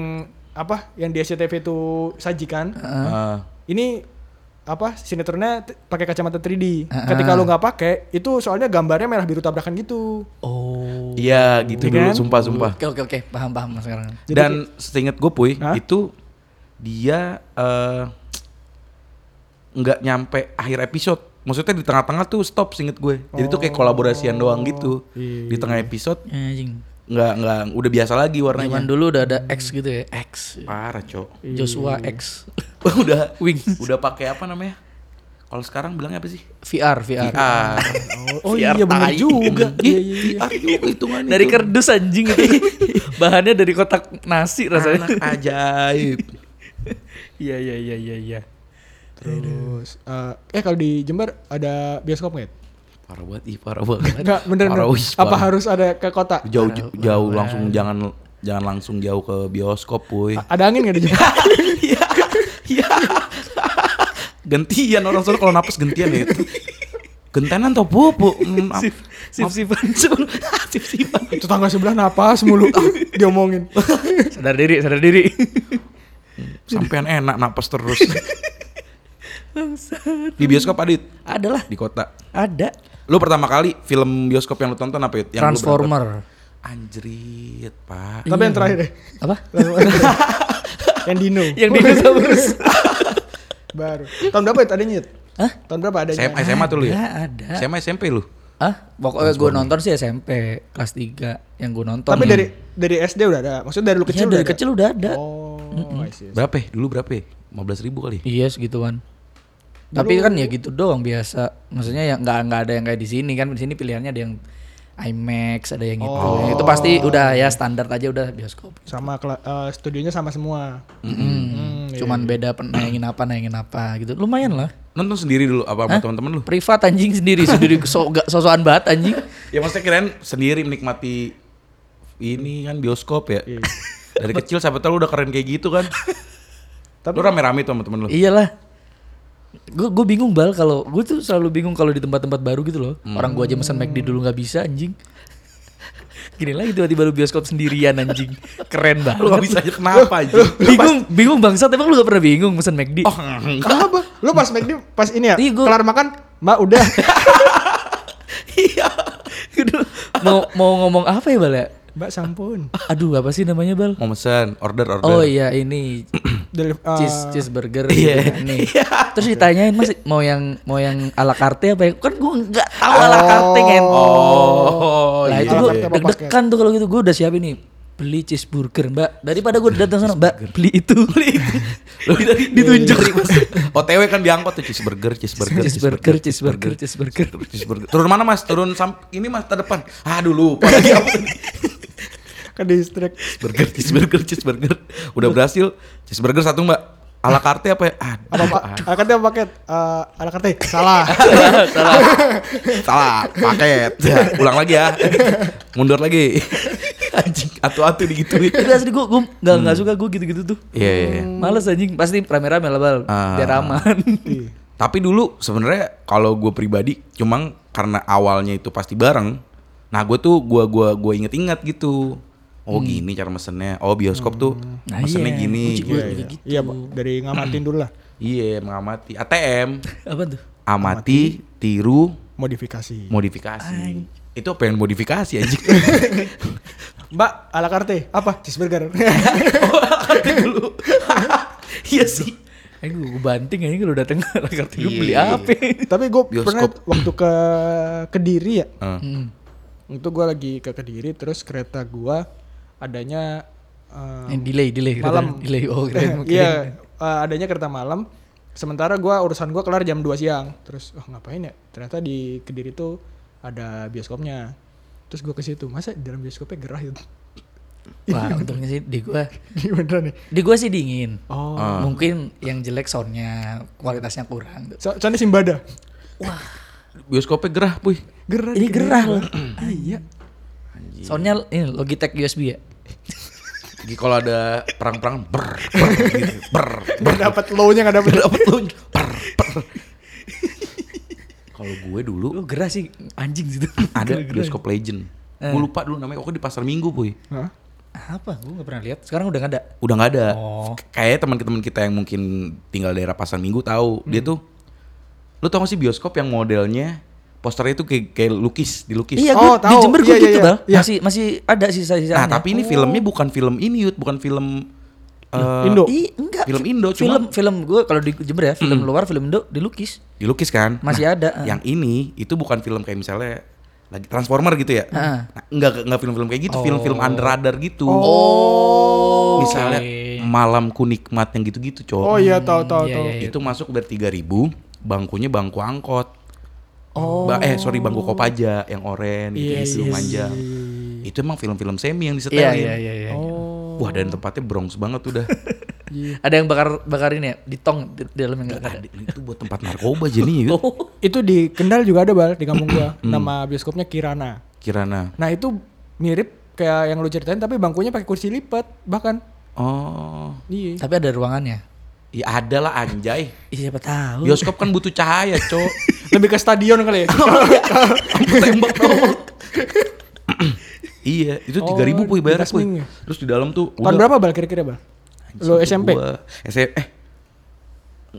[SPEAKER 1] apa? Yang di SCTV itu sajikan.
[SPEAKER 2] Ah.
[SPEAKER 1] ini apa sinetronnya t- pakai kacamata 3D. Ketika lu nggak pakai, itu soalnya gambarnya merah biru tabrakan gitu.
[SPEAKER 3] Oh.
[SPEAKER 2] Iya gitu
[SPEAKER 1] Iya
[SPEAKER 2] dulu.
[SPEAKER 1] kan?
[SPEAKER 2] Sumpah sumpah.
[SPEAKER 3] Oke oke oke paham paham mas sekarang.
[SPEAKER 1] Jadi
[SPEAKER 2] Dan seinget gue puy
[SPEAKER 1] Hah?
[SPEAKER 2] itu dia eh, nggak nyampe akhir episode. Maksudnya di tengah-tengah tuh stop seinget gue. Jadi tuh kayak kolaborasian doang
[SPEAKER 1] Oh,
[SPEAKER 2] gitu.
[SPEAKER 1] iya.
[SPEAKER 2] Di tengah episode
[SPEAKER 3] Eh, Anjing.
[SPEAKER 2] nggak nggak udah biasa lagi
[SPEAKER 3] Zaman
[SPEAKER 2] warnanya.
[SPEAKER 3] dulu udah ada X gitu ya X. Iya.
[SPEAKER 2] Parah cok.
[SPEAKER 3] Joshua X.
[SPEAKER 2] Iya. udah
[SPEAKER 3] Wings.
[SPEAKER 2] udah pakai apa namanya? Kalau sekarang bilangnya apa sih?
[SPEAKER 3] VR
[SPEAKER 2] VR.
[SPEAKER 3] VR.
[SPEAKER 1] Ya. Oh, oh iya benar juga. iya, iya, iya.
[SPEAKER 2] VR juga hitungannya.
[SPEAKER 3] Dari
[SPEAKER 2] Cok.
[SPEAKER 3] kerdus anjing itu. Bahannya dari kotak nasi rasanya.
[SPEAKER 2] Anak ajaib.
[SPEAKER 3] Iya iya iya iya iya.
[SPEAKER 1] Terus eh, eh kalau di Jember ada bioskop nggak?
[SPEAKER 2] Parah banget, ih parah banget.
[SPEAKER 1] Enggak, beneran.
[SPEAKER 2] Parah,
[SPEAKER 1] dong.
[SPEAKER 2] wih,
[SPEAKER 1] Apa
[SPEAKER 2] parah.
[SPEAKER 1] harus ada ke kota?
[SPEAKER 2] jauh jauh, langsung jangan jangan langsung jauh ke bioskop puy
[SPEAKER 1] A- Ada angin nggak di Jember?
[SPEAKER 2] iya iya gantian orang sono kalau napas gantian ya gentenan atau pupu Hmm, ap-
[SPEAKER 3] Sip sipan sip sipan.
[SPEAKER 1] Tetangga sebelah napas mulu diomongin.
[SPEAKER 3] Sadar diri sadar diri.
[SPEAKER 2] sampean enak napas terus di bioskop adit
[SPEAKER 3] Adalah
[SPEAKER 2] di kota
[SPEAKER 3] ada
[SPEAKER 2] lu pertama kali film bioskop yang lu tonton apa Yud? yang lu
[SPEAKER 3] Transformer.
[SPEAKER 2] berangkat? anjrit pak
[SPEAKER 3] Iya,
[SPEAKER 1] Tapi yang terakhir deh.
[SPEAKER 3] Apa?
[SPEAKER 1] Yang Dino.
[SPEAKER 3] Yang dinosaurus.
[SPEAKER 1] Baru. Tahun berapa itu adanya? Yud?
[SPEAKER 3] Hah?
[SPEAKER 1] Tahun berapa adanya?
[SPEAKER 3] iya,
[SPEAKER 2] SMA, SMA tuh lu ya
[SPEAKER 3] Ada, ada.
[SPEAKER 2] SMA SMP lu
[SPEAKER 3] Ah, pokoknya gue nonton sih SMP kelas 3 yang gue nonton.
[SPEAKER 1] Tapi
[SPEAKER 3] ya.
[SPEAKER 1] dari dari SD udah ada. Maksudnya dari lu
[SPEAKER 3] Iya,
[SPEAKER 1] kecil udah
[SPEAKER 3] dari
[SPEAKER 1] ada?
[SPEAKER 3] kecil udah ada.
[SPEAKER 1] Oh, I see, I see.
[SPEAKER 2] berapa ya? dulu berapa ya? 15 ribu kali
[SPEAKER 3] Iya segituan. Tapi kan ya gitu doang biasa. Maksudnya ya nggak nggak ada yang kayak di sini kan di sini pilihannya ada yang IMAX ada yang itu.
[SPEAKER 1] Oh.
[SPEAKER 3] Yang itu pasti udah ya standar aja udah bioskop.
[SPEAKER 1] Sama kela- eh, studionya sama semua. Hmm, iya.
[SPEAKER 3] Cuman beda pen- nayangin apa nayangin apa gitu. Lumayan lah.
[SPEAKER 2] Nonton sendiri dulu apa sama teman-teman lu?
[SPEAKER 3] Privat anjing sendiri sendiri so, gak sosokan banget anjing.
[SPEAKER 2] Ya maksudnya keren sendiri menikmati ini kan bioskop ya. Dari kecil sampai tahu lu udah keren kayak gitu kan.
[SPEAKER 1] Tapi-
[SPEAKER 2] lu rame-rame tuh sama temen lu.
[SPEAKER 3] Iyalah. Gue gue bingung bal kalau gue tuh selalu bingung kalau di tempat-tempat baru gitu loh.
[SPEAKER 2] Hmm.
[SPEAKER 3] Orang gue aja mesen McD dulu nggak bisa anjing. Gini lagi tiba-tiba lu bioskop sendirian anjing. Keren banget.
[SPEAKER 2] Lu gak bisa aja kenapa aja.
[SPEAKER 3] bingung bingung bangsat emang lu gak pernah bingung mesen McD.
[SPEAKER 2] Oh, enggak.
[SPEAKER 1] Kenapa? Lu pas McD pas ini ya,
[SPEAKER 3] Iya, gua-
[SPEAKER 1] kelar makan, Mbak udah.
[SPEAKER 3] Iya. Aduh, mau mau ngomong apa ya bal ya?
[SPEAKER 1] Mbak sampun.
[SPEAKER 3] Aduh apa sih namanya bal?
[SPEAKER 2] Mau mesen, order, order.
[SPEAKER 3] Oh iya ini
[SPEAKER 1] Dari, eh,
[SPEAKER 3] cheese cheeseburger
[SPEAKER 2] Iya.
[SPEAKER 3] gitu kan, nih. Terus ditanyain Mas mau yang mau yang ala carte apa ya? Kan gue nggak tahu ala carte kan.
[SPEAKER 2] Oh,
[SPEAKER 3] Nah
[SPEAKER 2] iya.
[SPEAKER 3] itu
[SPEAKER 1] Ala
[SPEAKER 3] gue
[SPEAKER 1] carte apa
[SPEAKER 3] deg-degan tuh kalau gitu gue udah siapin nih beli cheeseburger mbak daripada gue datang sana mbak beli itu beli itu ditunjuk
[SPEAKER 2] OTW kan diangkut tuh cheeseburger, cheeseburger,
[SPEAKER 3] cheeseburger cheeseburger cheeseburger
[SPEAKER 2] cheeseburger. Turun mana mas? Turun sam ini mas terdepan. Aduh lupa lagi apa tadi?
[SPEAKER 1] ke distrik.
[SPEAKER 2] Cheeseburger, cheeseburger, cheeseburger. Udah berhasil. Cheeseburger satu mbak. Ala carte apa ya? Aduh,
[SPEAKER 1] Apa Pak? Ah, Ala carte apa paket? Eh, ala carte. Salah.
[SPEAKER 2] salah paket. Ya, ulang lagi ya. Mundur lagi. Anjing, atu-atu digituin.
[SPEAKER 3] itu asli gue gue nggak nggak suka gue gitu-gitu tuh
[SPEAKER 2] Iya, iya, iya.
[SPEAKER 3] males anjing pasti rame-rame lah bal
[SPEAKER 2] Ah.
[SPEAKER 3] biar aman
[SPEAKER 1] Ih,
[SPEAKER 2] Tapi dulu sebenarnya kalau gue pribadi cuma karena awalnya itu pasti bareng. Nah gue tuh gue gua gua inget-inget gitu. Oh gini cara mesennya. Oh bioskop tuh
[SPEAKER 3] Hmm. Nah,
[SPEAKER 2] mesennya
[SPEAKER 3] iya.
[SPEAKER 2] gini.
[SPEAKER 3] Uji
[SPEAKER 1] Iya,
[SPEAKER 2] gitu.
[SPEAKER 1] iya. Iya, Pak. dari ngamatin dulu lah
[SPEAKER 2] Iya mengamati. ATM.
[SPEAKER 3] apa tuh
[SPEAKER 2] Amati, tiru,
[SPEAKER 1] modifikasi.
[SPEAKER 2] modifikasi. Itu pengen modifikasi anjing.
[SPEAKER 1] Mbak, ala carte apa? Cheeseburger.
[SPEAKER 2] dulu. iya sih.
[SPEAKER 3] Eh gue banting aja kalau dateng ala kartu gue beli apa
[SPEAKER 1] Tapi gue pernah
[SPEAKER 2] Bioskop.
[SPEAKER 1] waktu ke Kediri ya.
[SPEAKER 2] Eh,
[SPEAKER 1] Itu gue lagi ke Kediri terus kereta gue adanya eh,
[SPEAKER 3] yang delay delay keren.
[SPEAKER 1] Malam.
[SPEAKER 3] delay oh keren keren.
[SPEAKER 1] Iya, eh, adanya kereta malam. Sementara gua urusan gua kelar jam 2 siang. Terus oh ngapain ya? Ternyata di Kediri tuh ada bioskopnya. Terus gua ke situ. Masa di dalam bioskopnya gerah gitu.
[SPEAKER 3] wah untungnya sih di gue
[SPEAKER 1] Ini beneran nih.
[SPEAKER 3] Di gua sih dingin.
[SPEAKER 1] Oh.
[SPEAKER 3] Mungkin yang jelek soundnya kualitasnya kurang.
[SPEAKER 1] So, soalnya Simbada.
[SPEAKER 2] Bioskopnya gerah, puy.
[SPEAKER 1] Gerah.
[SPEAKER 3] Ini
[SPEAKER 1] di Kediri.
[SPEAKER 3] gerah loh.
[SPEAKER 1] Ah, iya.
[SPEAKER 3] Soundnya ini Logitech USB ya.
[SPEAKER 2] Jadi Kalau ada perang-perang ber, ber, gitu, ber, ber.
[SPEAKER 1] Gak dapet low-nya gak dapet.
[SPEAKER 2] dapet lunch. Per, per. Kalau gue dulu
[SPEAKER 3] Lu gerah sih anjing situ.
[SPEAKER 2] ada
[SPEAKER 3] Gerah-gerah.
[SPEAKER 2] bioskop legend.
[SPEAKER 3] Eh.
[SPEAKER 2] Gue lupa dulu namanya. Pokoknya di pasar minggu puy.
[SPEAKER 1] Hah?
[SPEAKER 3] Apa? Gua nggak pernah lihat. Sekarang udah nggak ada.
[SPEAKER 2] Udah nggak ada.
[SPEAKER 3] Oh.
[SPEAKER 2] Kayak teman-teman kita yang mungkin tinggal daerah pasar minggu tahu. Dia
[SPEAKER 3] Hmm.
[SPEAKER 2] tuh, lu tau gak sih bioskop yang modelnya posternya itu kayak, kayak lukis, dilukis.
[SPEAKER 3] Iya,
[SPEAKER 1] Oh,
[SPEAKER 3] gua di
[SPEAKER 1] tahu.
[SPEAKER 3] Jember gua
[SPEAKER 1] Iya, iya,
[SPEAKER 3] gitu,
[SPEAKER 1] iya.
[SPEAKER 3] Bal.
[SPEAKER 1] Iya.
[SPEAKER 3] Masih masih ada sisa-sisa.
[SPEAKER 2] Nah tapi ini filmnya bukan film ini Yud, bukan film
[SPEAKER 3] Iya,
[SPEAKER 2] eh,
[SPEAKER 1] Indo.
[SPEAKER 3] Oh. Ih, enggak.
[SPEAKER 2] Film Indo, cuma-
[SPEAKER 3] Film film gua kalau di Jember ya, film luar, film Indo dilukis.
[SPEAKER 2] dilukis kan.
[SPEAKER 3] Masih ada, eh.
[SPEAKER 2] Yang ini itu bukan film kayak misalnya lagi Transformer gitu ya.
[SPEAKER 3] Heeh.
[SPEAKER 2] Nah, enggak enggak film-film kayak gitu, film-film under radar gitu.
[SPEAKER 1] Oh.
[SPEAKER 2] misalnya malamku nikmat yang gitu-gitu cowok
[SPEAKER 1] Oh iya, tahu tahu
[SPEAKER 3] iya,
[SPEAKER 1] tahu.
[SPEAKER 3] iya.
[SPEAKER 2] itu masuk dari 3000 bangkunya bangku angkot
[SPEAKER 3] Oh.
[SPEAKER 2] Ba- eh sorry bangku kopaja yang oren gitu,
[SPEAKER 1] Iya,
[SPEAKER 2] gitu
[SPEAKER 1] iya,
[SPEAKER 2] panjang itu emang film-film semi yang disetelin
[SPEAKER 3] Iya, iya, iya, iya.
[SPEAKER 1] Oh.
[SPEAKER 2] wah dan tempatnya brongs banget udah
[SPEAKER 3] Ada yang bakar bakar ini ya, di tong di, di dalam yang enggak ada.
[SPEAKER 2] Adik, Nah, itu buat tempat narkoba gitu. jadinya yuk
[SPEAKER 3] Oh.
[SPEAKER 1] Itu di Kendal juga ada, Bal, di kampung gua. Nama bioskopnya Kirana.
[SPEAKER 2] kirana
[SPEAKER 1] Nah, itu mirip kayak yang lu ceritain tapi bangkunya pakai kursi lipat bahkan.
[SPEAKER 2] oh
[SPEAKER 1] Iya.
[SPEAKER 3] Tapi ada ruangannya.
[SPEAKER 2] ya ada lah anjay
[SPEAKER 3] Ih, siapa
[SPEAKER 1] Oh.
[SPEAKER 3] tahu.
[SPEAKER 2] bioskop kan butuh cahaya cowok
[SPEAKER 1] lebih ke stadion kali ya
[SPEAKER 2] tembak tolong iya itu
[SPEAKER 1] Oh,
[SPEAKER 2] 3000 puy bayar
[SPEAKER 1] di
[SPEAKER 2] puy
[SPEAKER 1] Tasmania.
[SPEAKER 2] terus di dalam tuh
[SPEAKER 1] tahun berapa bal kira-kira bal
[SPEAKER 2] Anjing,
[SPEAKER 1] lo
[SPEAKER 2] itu
[SPEAKER 1] SMP
[SPEAKER 2] gua S- eh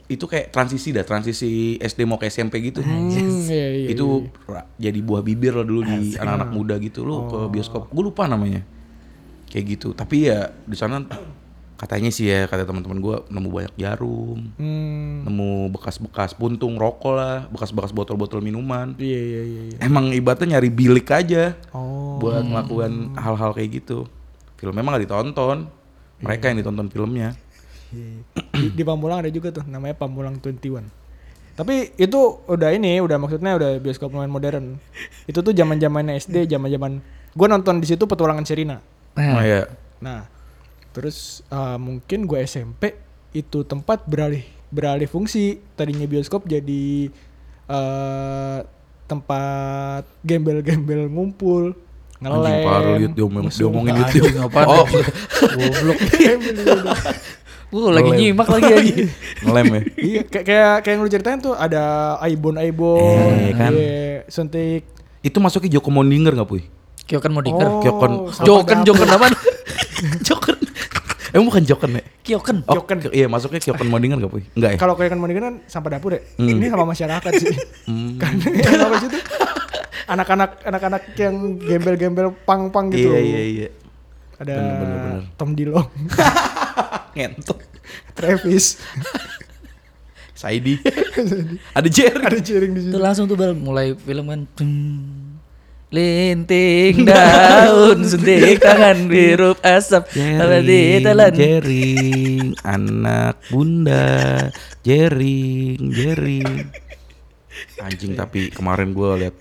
[SPEAKER 2] itu kayak transisi dah transisi SD mau ke SMP gitu
[SPEAKER 1] Hmm, iya, iya, Oh.
[SPEAKER 2] itu ra- jadi buah bibir lah dulu di anak-anak muda gitu lo ke bioskop gue lupa namanya kayak gitu tapi ya di sana katanya sih ya kata teman-teman gue nemu banyak jarum
[SPEAKER 1] hmm,
[SPEAKER 2] nemu bekas-bekas puntung rokok lah bekas-bekas botol-botol minuman
[SPEAKER 1] iya iya iya iya.
[SPEAKER 2] emang ibaratnya nyari bilik aja
[SPEAKER 1] oh
[SPEAKER 2] buat melakukan hal-hal kayak gitu film memang gak ditonton
[SPEAKER 1] Iya.
[SPEAKER 2] mereka yang ditonton filmnya
[SPEAKER 1] di, di Pamulang ada juga tuh namanya Pamulang 21 Tapi itu udah ini, udah maksudnya udah bioskop lumayan modern. Itu tuh zaman zamannya SD, zaman zaman gue nonton di situ petualangan Sirina.
[SPEAKER 2] Oh iya.
[SPEAKER 1] Nah, terus eh, mungkin gue SMP itu tempat beralih beralih fungsi. Tadinya bioskop jadi eh tempat gembel-gembel ngumpul,
[SPEAKER 2] Anjing parah liat
[SPEAKER 1] ngelem.
[SPEAKER 2] dia, omong- dia omongin
[SPEAKER 3] Ah,
[SPEAKER 2] YouTube.
[SPEAKER 3] anjing, apaan
[SPEAKER 2] Oh,
[SPEAKER 3] anjing? Goblok. Gue Uh, lagi
[SPEAKER 2] Ngelem.
[SPEAKER 3] nyimak lagi anjing.
[SPEAKER 2] ngelem ya.
[SPEAKER 1] iya, kayak kayak kayak yang lu ceritain tuh ada aibon aibon,
[SPEAKER 2] Eh, kan.
[SPEAKER 1] iya, suntik.
[SPEAKER 2] Itu masuknya Joko Mondinger gak Puy?
[SPEAKER 3] Kyokan mau diker.
[SPEAKER 1] Oh,
[SPEAKER 2] Kyokan.
[SPEAKER 1] sama
[SPEAKER 3] Joken,
[SPEAKER 1] dapur.
[SPEAKER 3] Joken apa? Joken.
[SPEAKER 2] Emang bukan Joken ya?
[SPEAKER 3] Kyokan.
[SPEAKER 2] Oh, Iya masuknya Kyoken Mondinger gak Puy? Enggak ya?
[SPEAKER 1] Kalau kayak kan mendingan kan sampah dapur ya.
[SPEAKER 2] Hmm.
[SPEAKER 1] Ini sama masyarakat sih. Karena yang apa itu anak-anak anak-anak yang gembel-gembel pang-pang gitu.
[SPEAKER 2] Iya, iya, iya.
[SPEAKER 1] Ada
[SPEAKER 2] Bener, bener, bener.
[SPEAKER 1] Tom Dilong,
[SPEAKER 2] Ah, Ngentot.
[SPEAKER 1] Travis,
[SPEAKER 2] Saidi. Ada Jerry.
[SPEAKER 1] ada cheering di situ.
[SPEAKER 3] Itu langsung tuh bal mulai film kan. Dung. Linting daun suntik tangan biru asap di telan.
[SPEAKER 2] jering, anak bunda, jering, jering. Anjing tapi kemarin gue lihat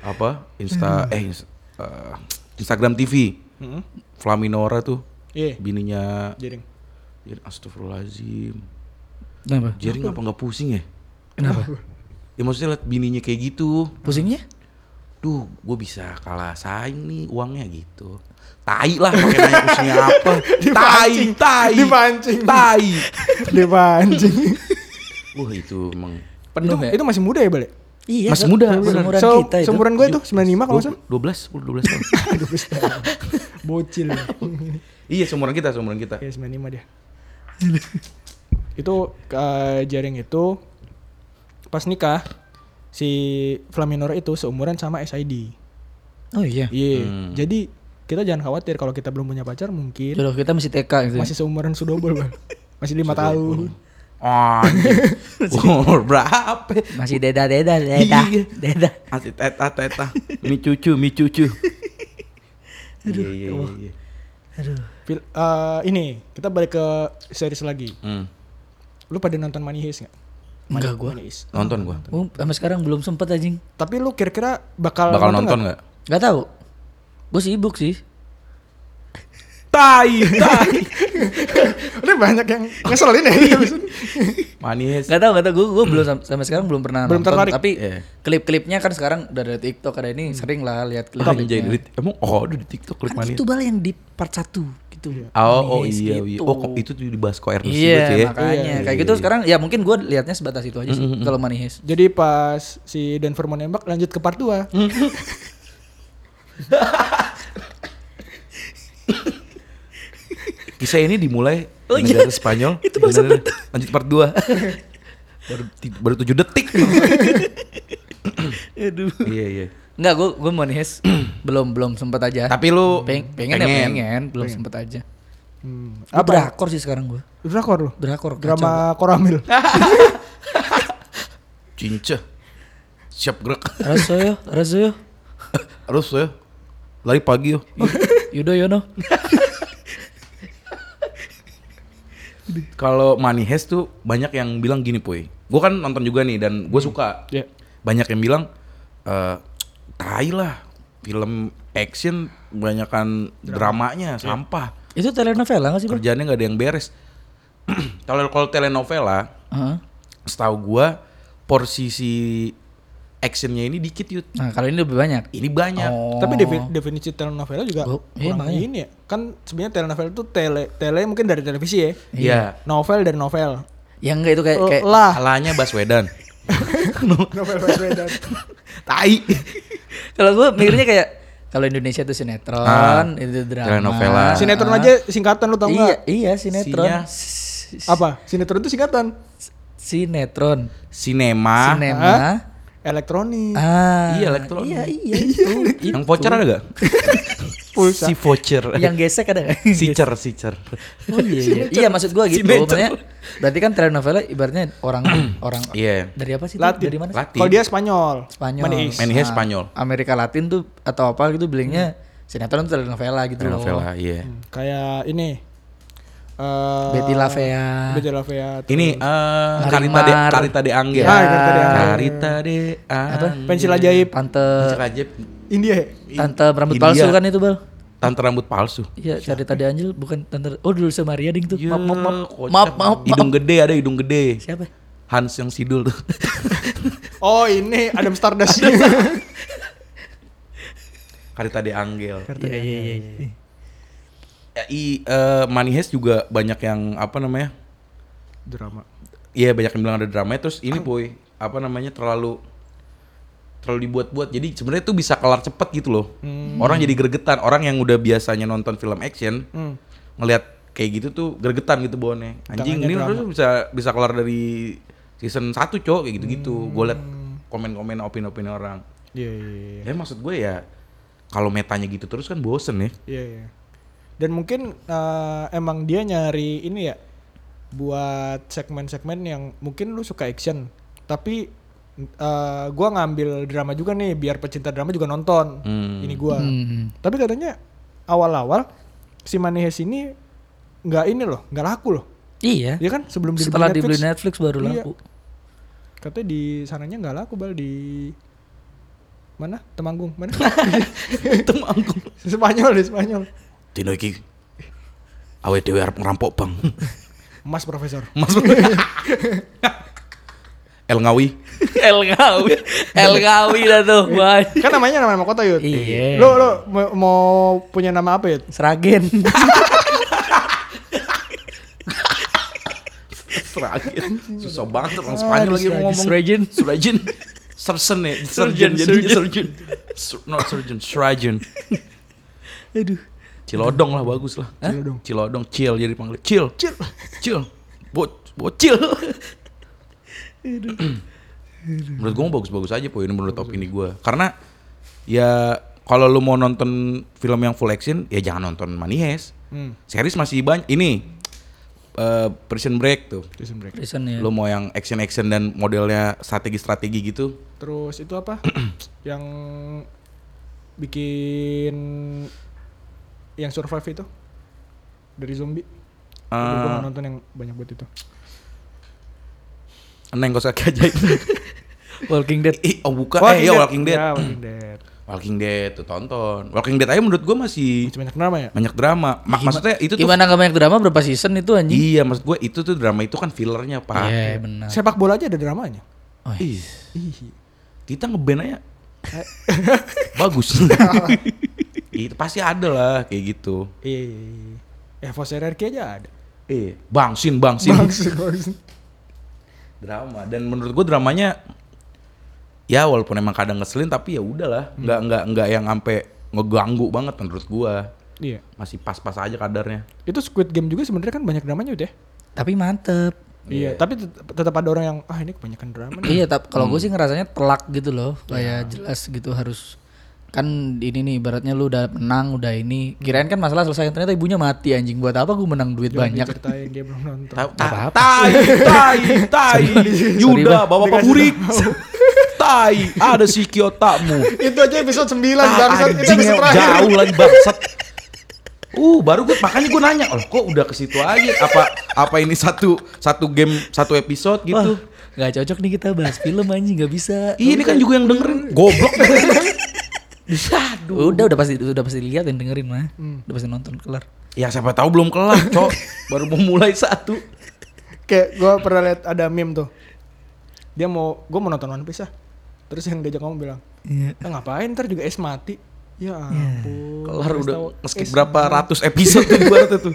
[SPEAKER 2] apa
[SPEAKER 1] Hmm.
[SPEAKER 2] Insta eh Ins- eh, Instagram TV
[SPEAKER 1] Mm-mm.
[SPEAKER 2] Flaminora tuh
[SPEAKER 1] Hmm. Iya,
[SPEAKER 2] bininya
[SPEAKER 1] jering.
[SPEAKER 2] Jering, Astagfirullahaladzim
[SPEAKER 3] Kenapa?
[SPEAKER 2] Jering apa nggak pusing ya?
[SPEAKER 3] Kenapa?
[SPEAKER 2] Ya maksudnya liat bininya kayak gitu
[SPEAKER 3] Pusingnya?
[SPEAKER 2] Duh gue bisa kalah saing nih uangnya gitu Tai lah pakai nanya pusingnya apa Tai,
[SPEAKER 1] Dipancing,
[SPEAKER 2] tai
[SPEAKER 1] dipancing.
[SPEAKER 2] Tai
[SPEAKER 1] Dia pancing.
[SPEAKER 2] Wah itu emang
[SPEAKER 3] Penuh ya?
[SPEAKER 1] itu masih muda ya, Balik?
[SPEAKER 3] Iya,
[SPEAKER 2] Masih
[SPEAKER 3] Kak.
[SPEAKER 2] muda, bener.
[SPEAKER 3] seumuran
[SPEAKER 1] So,
[SPEAKER 3] kita itu.
[SPEAKER 1] seumuran gue tuh 95 kalau nggak salah.
[SPEAKER 2] 12, 10, 12 tahun
[SPEAKER 1] Aduh, setahun. Bocil.
[SPEAKER 2] Iya seumuran kita, seumuran kita
[SPEAKER 1] Iya, 95 dia. itu eh, jaring itu pas nikah si Flaminor itu seumuran sama SID.
[SPEAKER 3] Oh iya.
[SPEAKER 1] Iya.
[SPEAKER 2] Hmm.
[SPEAKER 1] Jadi kita jangan khawatir kalau kita belum punya pacar mungkin
[SPEAKER 3] Jodoh kita masih TK
[SPEAKER 2] Iya.
[SPEAKER 3] gitu.
[SPEAKER 1] Iya. masih seumuran sudobel bang. Masih lima tahun.
[SPEAKER 2] Anjing Umur berapa
[SPEAKER 3] masih deda deda deda
[SPEAKER 2] Iya.
[SPEAKER 3] deda.
[SPEAKER 2] Asli teta teta Mi cucu, mi cucu Iya iya iya, iya
[SPEAKER 3] Aduh.
[SPEAKER 1] Fil- eh, ini kita balik ke series lagi.
[SPEAKER 2] Hmm,
[SPEAKER 1] Lu pada nonton Money Heist nggak?
[SPEAKER 3] Enggak gua.
[SPEAKER 1] Money Heist.
[SPEAKER 2] Nonton gua
[SPEAKER 3] Oh, sampai sekarang belum sempet anjing.
[SPEAKER 1] Tapi lu kira-kira bakal,
[SPEAKER 2] Bakal nonton
[SPEAKER 1] nggak?
[SPEAKER 2] gak?
[SPEAKER 3] Gak tahu. Gue sibuk sih.
[SPEAKER 2] Tai, tai
[SPEAKER 1] Ini banyak yang ngeselin ya.
[SPEAKER 2] Manis
[SPEAKER 3] Gak tahu, gak tahu. Gue belum sam- sampai sekarang belum pernah
[SPEAKER 1] Belum
[SPEAKER 3] nonton.
[SPEAKER 1] tertarik.
[SPEAKER 3] Tapi
[SPEAKER 2] Iya.
[SPEAKER 3] klip-klipnya kan sekarang udah ada TikTok ada ini sering lah lihat klip.
[SPEAKER 2] Tapi jadi kan duit Emang oh aduh, di tiktok klik manis
[SPEAKER 3] ya. Kan itu bal yang di part 1 gitu.
[SPEAKER 2] Oh, oh
[SPEAKER 3] Manis
[SPEAKER 2] iya, iya.
[SPEAKER 3] gitu.
[SPEAKER 2] Oh, kok itu tuh dibahas kok Ernest
[SPEAKER 3] Iya,
[SPEAKER 2] Sibat ya?
[SPEAKER 3] makanya
[SPEAKER 1] Iya,
[SPEAKER 3] kayak gitu sekarang ya mungkin gue liatnya sebatas itu aja sih kalau Money Heist.
[SPEAKER 1] Jadi pas si Denver mau nembak lanjut ke part 2.
[SPEAKER 2] Kisah ini dimulai
[SPEAKER 3] Oh,
[SPEAKER 2] di negara
[SPEAKER 3] iya.
[SPEAKER 2] Spanyol.
[SPEAKER 3] Itu baru
[SPEAKER 2] Benar. Lanjut part 2. baru ti- baru 7 detik.
[SPEAKER 3] Aduh.
[SPEAKER 2] iya, iya.
[SPEAKER 3] Enggak, gue gue Money Heist belum belum sempet aja.
[SPEAKER 2] Tapi lu
[SPEAKER 3] Peng- pengen, ya pengen, belum sempet aja.
[SPEAKER 1] Hmm.
[SPEAKER 3] Gua
[SPEAKER 1] Apa?
[SPEAKER 3] Drakor sih sekarang gue.
[SPEAKER 1] Drakor lu?
[SPEAKER 3] Drakor kacau.
[SPEAKER 1] Drama Koramil.
[SPEAKER 2] Cince. Siap gerak.
[SPEAKER 3] Raso yo, Raso yo.
[SPEAKER 2] Harus ya. Lari pagi yo.
[SPEAKER 3] Yudo Yono.
[SPEAKER 2] Kalau Money Heist tuh banyak yang bilang gini, Puy. Gue kan nonton juga nih dan
[SPEAKER 3] Hmm.
[SPEAKER 2] gue suka.
[SPEAKER 3] Ya.
[SPEAKER 1] Iya.
[SPEAKER 2] Banyak yang bilang eh tai lah film action banyakan dramanya sampah.
[SPEAKER 3] Itu telenovela gak sih, Bro?
[SPEAKER 2] Kerjaannya nggak ada yang beres. Kalau kalau telenovela,
[SPEAKER 3] Heeh.
[SPEAKER 2] setahu gua porsi si actionnya ini dikit yut
[SPEAKER 3] Nah, kalau ini lebih banyak.
[SPEAKER 2] ini banyak
[SPEAKER 3] Oh.
[SPEAKER 1] Tapi defi- definisi telenovela juga
[SPEAKER 3] Gua- iya,
[SPEAKER 1] kurang
[SPEAKER 3] makanya.
[SPEAKER 1] ini ya. Kan sebenarnya telenovela itu tele tele mungkin dari televisi ya.
[SPEAKER 2] Iya
[SPEAKER 1] Novel dari novel.
[SPEAKER 3] Ya enggak itu kayak kayak
[SPEAKER 1] lah
[SPEAKER 2] kalanya Baswedan
[SPEAKER 1] novel Baswedan.
[SPEAKER 2] tai
[SPEAKER 3] kalau gue mikirnya kayak kalau Indonesia tuh sinetron,
[SPEAKER 2] Ah,
[SPEAKER 3] itu drama.
[SPEAKER 2] telenovela.
[SPEAKER 3] Ah.
[SPEAKER 1] sinetron aja singkatan lu tau
[SPEAKER 3] Iya,
[SPEAKER 1] nggak?
[SPEAKER 3] iya sinetron.
[SPEAKER 2] Sinya.
[SPEAKER 3] S-
[SPEAKER 1] Apa? Sinetron itu singkatan
[SPEAKER 3] Sinetron.
[SPEAKER 2] sinema
[SPEAKER 3] Sinema.
[SPEAKER 1] elektronik.
[SPEAKER 3] Ah.
[SPEAKER 2] Ah, Iya, elektron.
[SPEAKER 3] Iya, iya. itu,
[SPEAKER 2] yang
[SPEAKER 3] itu.
[SPEAKER 2] voucher ada gak?
[SPEAKER 1] Pulsa.
[SPEAKER 2] si voucher
[SPEAKER 3] yang gesek ada nggak?
[SPEAKER 2] sicer sicer
[SPEAKER 3] Oh iya, iya. iya maksud gua gitu.
[SPEAKER 2] Sinetron.
[SPEAKER 3] Maksudnya berarti kan telenovela ibaratnya orang orang
[SPEAKER 2] iya
[SPEAKER 3] dari apa sih? itu?
[SPEAKER 1] Latin.
[SPEAKER 3] Dari mana? sih?
[SPEAKER 2] Latin
[SPEAKER 1] Kalau dia Spanyol.
[SPEAKER 3] iya. Spanyol. Nah,
[SPEAKER 1] Manis.
[SPEAKER 2] Manis. Manihnya Spanyol.
[SPEAKER 3] Amerika Latin tuh
[SPEAKER 2] iya.
[SPEAKER 3] atau apa gitu bilangnya sinetron tuh telenovela gitu
[SPEAKER 2] telenovela
[SPEAKER 3] loh.
[SPEAKER 2] iya
[SPEAKER 1] Kayak ini. Hmm, eh,
[SPEAKER 3] Betty
[SPEAKER 2] Oh.
[SPEAKER 3] Lavea.
[SPEAKER 1] Betty Lavea.
[SPEAKER 2] Ini eh
[SPEAKER 3] Larimar.
[SPEAKER 2] Karita de Karita de Anggia.
[SPEAKER 3] Iya,
[SPEAKER 1] Ah, Karita de Anggia.
[SPEAKER 2] Karita de Eh, Apa?
[SPEAKER 1] Pensil ajaib.
[SPEAKER 3] Iya. Tante
[SPEAKER 1] India.
[SPEAKER 2] Iya.
[SPEAKER 1] ya?
[SPEAKER 3] Tante rambut
[SPEAKER 2] India.
[SPEAKER 3] palsu kan itu, Bal?
[SPEAKER 2] Tante rambut palsu.
[SPEAKER 3] Iya, cari tadi Anjel bukan Tante. Oh, dulu sama Maria ding tuh.
[SPEAKER 2] Ya,
[SPEAKER 3] Maaf, maaf, maaf.
[SPEAKER 2] kocak.
[SPEAKER 3] Maaf, maaf, maaf.
[SPEAKER 2] Hidung gede ada hidung gede.
[SPEAKER 3] Siapa?
[SPEAKER 2] Hans yang sidul tuh.
[SPEAKER 1] Oh ini Adam Stardust.
[SPEAKER 2] Karita de Angel.
[SPEAKER 1] Kartu dia.
[SPEAKER 2] iya,
[SPEAKER 3] Iya.
[SPEAKER 2] Ya, I eh, Money Heist juga banyak yang apa namanya?
[SPEAKER 1] Drama.
[SPEAKER 2] Iya banyak yang bilang ada drama terus ini boy apa namanya terlalu terlalu dibuat-buat jadi sebenarnya tuh bisa kelar cepet gitu loh
[SPEAKER 3] Hmm.
[SPEAKER 2] orang jadi gregetan orang yang udah biasanya nonton film action
[SPEAKER 1] Hmm.
[SPEAKER 2] ngelihat kayak gitu tuh gregetan gitu bawahnya anjing
[SPEAKER 1] Tangannya
[SPEAKER 2] ini
[SPEAKER 1] drama.
[SPEAKER 2] harus bisa bisa kelar dari season 1 cok kayak gitu-gitu gue liat komen-komen opini-opini orang
[SPEAKER 1] Iya iya iya.
[SPEAKER 2] ya maksud gue ya kalau metanya gitu terus kan bosen ya
[SPEAKER 1] Iya iya. Dan mungkin eh, emang dia nyari ini ya buat segmen-segmen yang mungkin lu suka action, tapi eh, gua ngambil drama juga nih biar pecinta drama juga nonton.
[SPEAKER 2] Hmm.
[SPEAKER 1] Ini gua.
[SPEAKER 3] Hmm.
[SPEAKER 1] Tapi katanya awal-awal si Manehes ini nggak ini loh, nggak laku loh.
[SPEAKER 2] Eh?
[SPEAKER 3] Iya.
[SPEAKER 1] Iya kan sebelum dibeli
[SPEAKER 3] Setelah
[SPEAKER 1] Netflix.
[SPEAKER 3] dibeli Netflix baru
[SPEAKER 1] Iya.
[SPEAKER 3] laku.
[SPEAKER 1] Katanya di sananya nggak laku bal di mana? Temanggung mana?
[SPEAKER 2] temanggung
[SPEAKER 1] Spanyol di Spanyol.
[SPEAKER 2] Dino iki awet dewe arep ngerampok bang
[SPEAKER 1] Mas Profesor.
[SPEAKER 2] Mas El Ngawi
[SPEAKER 3] El Ngawi. El Ngawi dah tuh. Wah.
[SPEAKER 1] Kan namanya nama, nama kota yud.
[SPEAKER 3] Iya.
[SPEAKER 1] Lo lo mau- mau punya nama apa yud?
[SPEAKER 3] Seragen.
[SPEAKER 2] Seragen susah banget orang Spanyol lagi
[SPEAKER 1] Seragen,
[SPEAKER 2] ngomong
[SPEAKER 3] Seragen.
[SPEAKER 2] Surajen Ah, Sersen ya
[SPEAKER 3] Surgeon,
[SPEAKER 2] Surgeon jadinya
[SPEAKER 3] surgeon.
[SPEAKER 2] Surgeon Sur- Not surgeon Surajen
[SPEAKER 3] Aduh.
[SPEAKER 2] Cilodong lah bagus lah
[SPEAKER 1] Cilodong.
[SPEAKER 2] Cilodong Cil jadi panggil Cil Cil Cil Bo Bocil Menurut gue bagus-bagus aja po ini menurut opini gue Karena ya kalau lu mau nonton film yang full action ya jangan nonton Money Heist
[SPEAKER 1] Hmm.
[SPEAKER 2] Series masih banyak ini eh, Prison Break tuh
[SPEAKER 1] Prison Break.
[SPEAKER 3] Prison ya.
[SPEAKER 2] Lu mau yang action-action dan modelnya strategi-strategi gitu
[SPEAKER 1] Terus itu apa? yang bikin yang survive itu dari zombie. Tapi
[SPEAKER 2] Ah. eh,
[SPEAKER 1] gua nggak nonton yang banyak buat itu.
[SPEAKER 2] Neng Kosaki aja
[SPEAKER 3] Walking Dead.
[SPEAKER 2] Ih, oh bukan,
[SPEAKER 1] Oh,
[SPEAKER 2] eh ya Walking Dead
[SPEAKER 1] Ya, Walking Dead.
[SPEAKER 2] Walking Dead tuh tonton Walking Dead aja menurut gue masih
[SPEAKER 1] Masih banyak nama ya?
[SPEAKER 2] banyak drama Mak- Maksudnya itu tuh
[SPEAKER 3] Gimana nggak banyak drama berapa season itu anjing?
[SPEAKER 2] Iya maksud gue itu tuh drama itu kan fillernya pak
[SPEAKER 3] Iya, benar.
[SPEAKER 1] Sepak bola aja ada dramanya.
[SPEAKER 3] Oh, iya.
[SPEAKER 2] Ih,
[SPEAKER 1] Ih.
[SPEAKER 2] Kita ngeband aja Bagus Itu pasti ada lah kayak gitu
[SPEAKER 1] Iya, iya, iya. Eh, Fos RRQ aja ada.
[SPEAKER 2] Eh,
[SPEAKER 3] Iya.
[SPEAKER 2] bangsin, bangsin
[SPEAKER 1] Bagus, bagus.
[SPEAKER 2] Drama dan menurut gue dramanya Ya walaupun emang kadang ngeselin tapi ya udahlah nggak,
[SPEAKER 3] Hmm.
[SPEAKER 2] nggak, nggak yang sampai ngeganggu banget menurut gue
[SPEAKER 1] Iya.
[SPEAKER 2] Masih pas-pas aja kadarnya
[SPEAKER 1] Itu Squid Game juga sebenarnya kan banyak dramanya udah.
[SPEAKER 3] Tapi mantep.
[SPEAKER 1] Iya, tapi tet- tetap ada orang yang ah ini kebanyakan drama nih.
[SPEAKER 3] Iya, tapi kalau gue sih ngerasanya telak gitu loh, kayak jelas gitu harus kan ini nih ibaratnya lu udah menang udah ini kirain kan masalah selesai ternyata ibunya mati anjing buat apa gue menang duit
[SPEAKER 1] Jangan
[SPEAKER 3] banyak
[SPEAKER 1] diceritain dia belum nonton.
[SPEAKER 2] Ta- ta-
[SPEAKER 3] apa-apa.
[SPEAKER 2] Ah, Tai, tai, tai. Yuda, bawa pemurik. Tai, ada si Kyotamu.
[SPEAKER 1] itu aja episode 9
[SPEAKER 2] Ah, anjingnya jauh lagi bangsat. Uh, baru gue makanya gue nanya, "Loh, kok udah ke situ aja? Apa apa ini satu satu game, satu episode
[SPEAKER 3] Wah,
[SPEAKER 2] gitu?"
[SPEAKER 3] nggak cocok nih kita bahas film anjing nggak bisa
[SPEAKER 2] Ih, ini kan juga yang dengerin. Goblok.
[SPEAKER 3] udah udah pasti udah pasti lihat dan dengerin mah
[SPEAKER 2] Hmm.
[SPEAKER 3] udah pasti nonton kelar
[SPEAKER 2] ya siapa tahu belum kelar, Cok. Baru mau mulai satu.
[SPEAKER 1] Kayak gue pernah lihat ada meme tuh. Dia mau gue mau nonton One Piece ah. Terus yang diajak ngomong bilang,
[SPEAKER 2] Iya.
[SPEAKER 1] "Ah, ngapain ntar juga es mati?" Ya ampun.
[SPEAKER 2] Kelar
[SPEAKER 1] Kasih
[SPEAKER 2] udah
[SPEAKER 1] tahu
[SPEAKER 2] meski
[SPEAKER 1] es
[SPEAKER 2] berapa
[SPEAKER 1] mati.
[SPEAKER 2] ratus episode tuh ibaratnya tuh.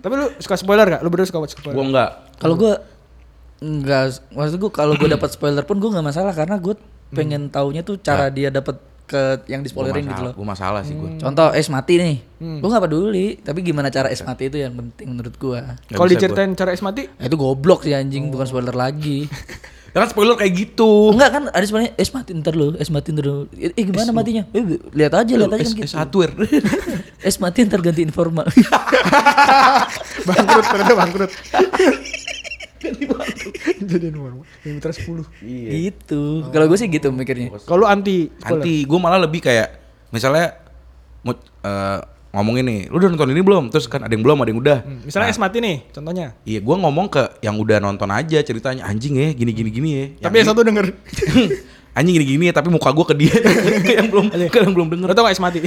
[SPEAKER 1] Tapi lu suka spoiler gak? Lu berdua suka buat spoiler?
[SPEAKER 2] Gua enggak.
[SPEAKER 3] kalau gue nggak maksud gue kalau gue dapat spoiler pun gue nggak masalah karena gue
[SPEAKER 2] Hmm.
[SPEAKER 3] pengen taunya tuh cara dia dapat ke yang di
[SPEAKER 2] Gua
[SPEAKER 3] spoilerin gitu
[SPEAKER 2] masalah, Hmm.
[SPEAKER 3] loh
[SPEAKER 2] Nah. gua masalah sih
[SPEAKER 1] Hmm.
[SPEAKER 2] gua.
[SPEAKER 3] Contoh es mati nih, gue nggak peduli. Tapi gimana cara es mati itu yang penting menurut gua.
[SPEAKER 1] Kalau
[SPEAKER 2] Nggak bisa gua.
[SPEAKER 1] diceritain cara es mati,
[SPEAKER 3] Nah, itu goblok sih
[SPEAKER 2] Oh.
[SPEAKER 3] anjing, bukan spoiler lagi.
[SPEAKER 2] Ya kan spoiler kayak gitu.
[SPEAKER 3] Enggak kan ada sebenarnya es mati ntar lo, es mati ntar lo. Eh eh, gimana matinya? Eh, lihat aja, lihat aja kan
[SPEAKER 2] S-
[SPEAKER 3] gitu.
[SPEAKER 2] S1 wir.
[SPEAKER 3] Es mati ntar ganti informa.
[SPEAKER 1] bangkrut ternyata bangkrut. Jadi nomor yang mitra 10.
[SPEAKER 2] Iya.
[SPEAKER 3] gitu. Kalau gue sih gitu mikirnya.
[SPEAKER 1] Kalau lu anti spoiler.
[SPEAKER 2] Anti, gue malah lebih kayak misalnya mut- eh, ngomongin nih, lu udah nonton ini belum? Terus kan ada yang belum, ada yang udah.
[SPEAKER 1] Hmm, misalnya Es Mati nih contohnya.
[SPEAKER 2] Iya, gua ngomong ke yang udah nonton aja ceritanya anjing ya, gini gini gini ya.
[SPEAKER 1] Tapi yang
[SPEAKER 2] Yang
[SPEAKER 1] satu denger.
[SPEAKER 2] ini- anjing gini gini ya, tapi muka gua ke dia ke yang belum ke yang belum denger.
[SPEAKER 1] Lo tau gak Es Mati?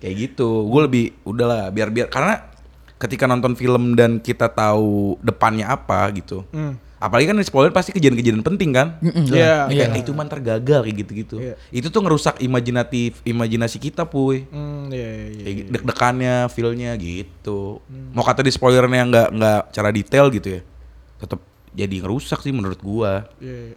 [SPEAKER 2] Kayak gitu. Gue lebih udahlah biar biar karena ketika nonton film dan kita tahu depannya apa gitu.
[SPEAKER 1] Hmm.
[SPEAKER 2] Apalagi kan di spoiler pasti kejadian-kejadian penting kan.
[SPEAKER 1] Iya.
[SPEAKER 2] Kayak "Eh, itu mah ntar gagal kayak gitu-gitu.
[SPEAKER 1] Iya.
[SPEAKER 2] Itu tuh ngerusak imajinatif imajinasi kita, Puy.
[SPEAKER 1] Hmm, iya, iya, iya. Hmm.
[SPEAKER 2] Kayak gitu. deg-degannya, feel-nya gitu. Mau kata di spoilernya nggak nggak cara detail gitu ya. Tetap jadi ngerusak sih menurut gua.
[SPEAKER 1] Iya, iya.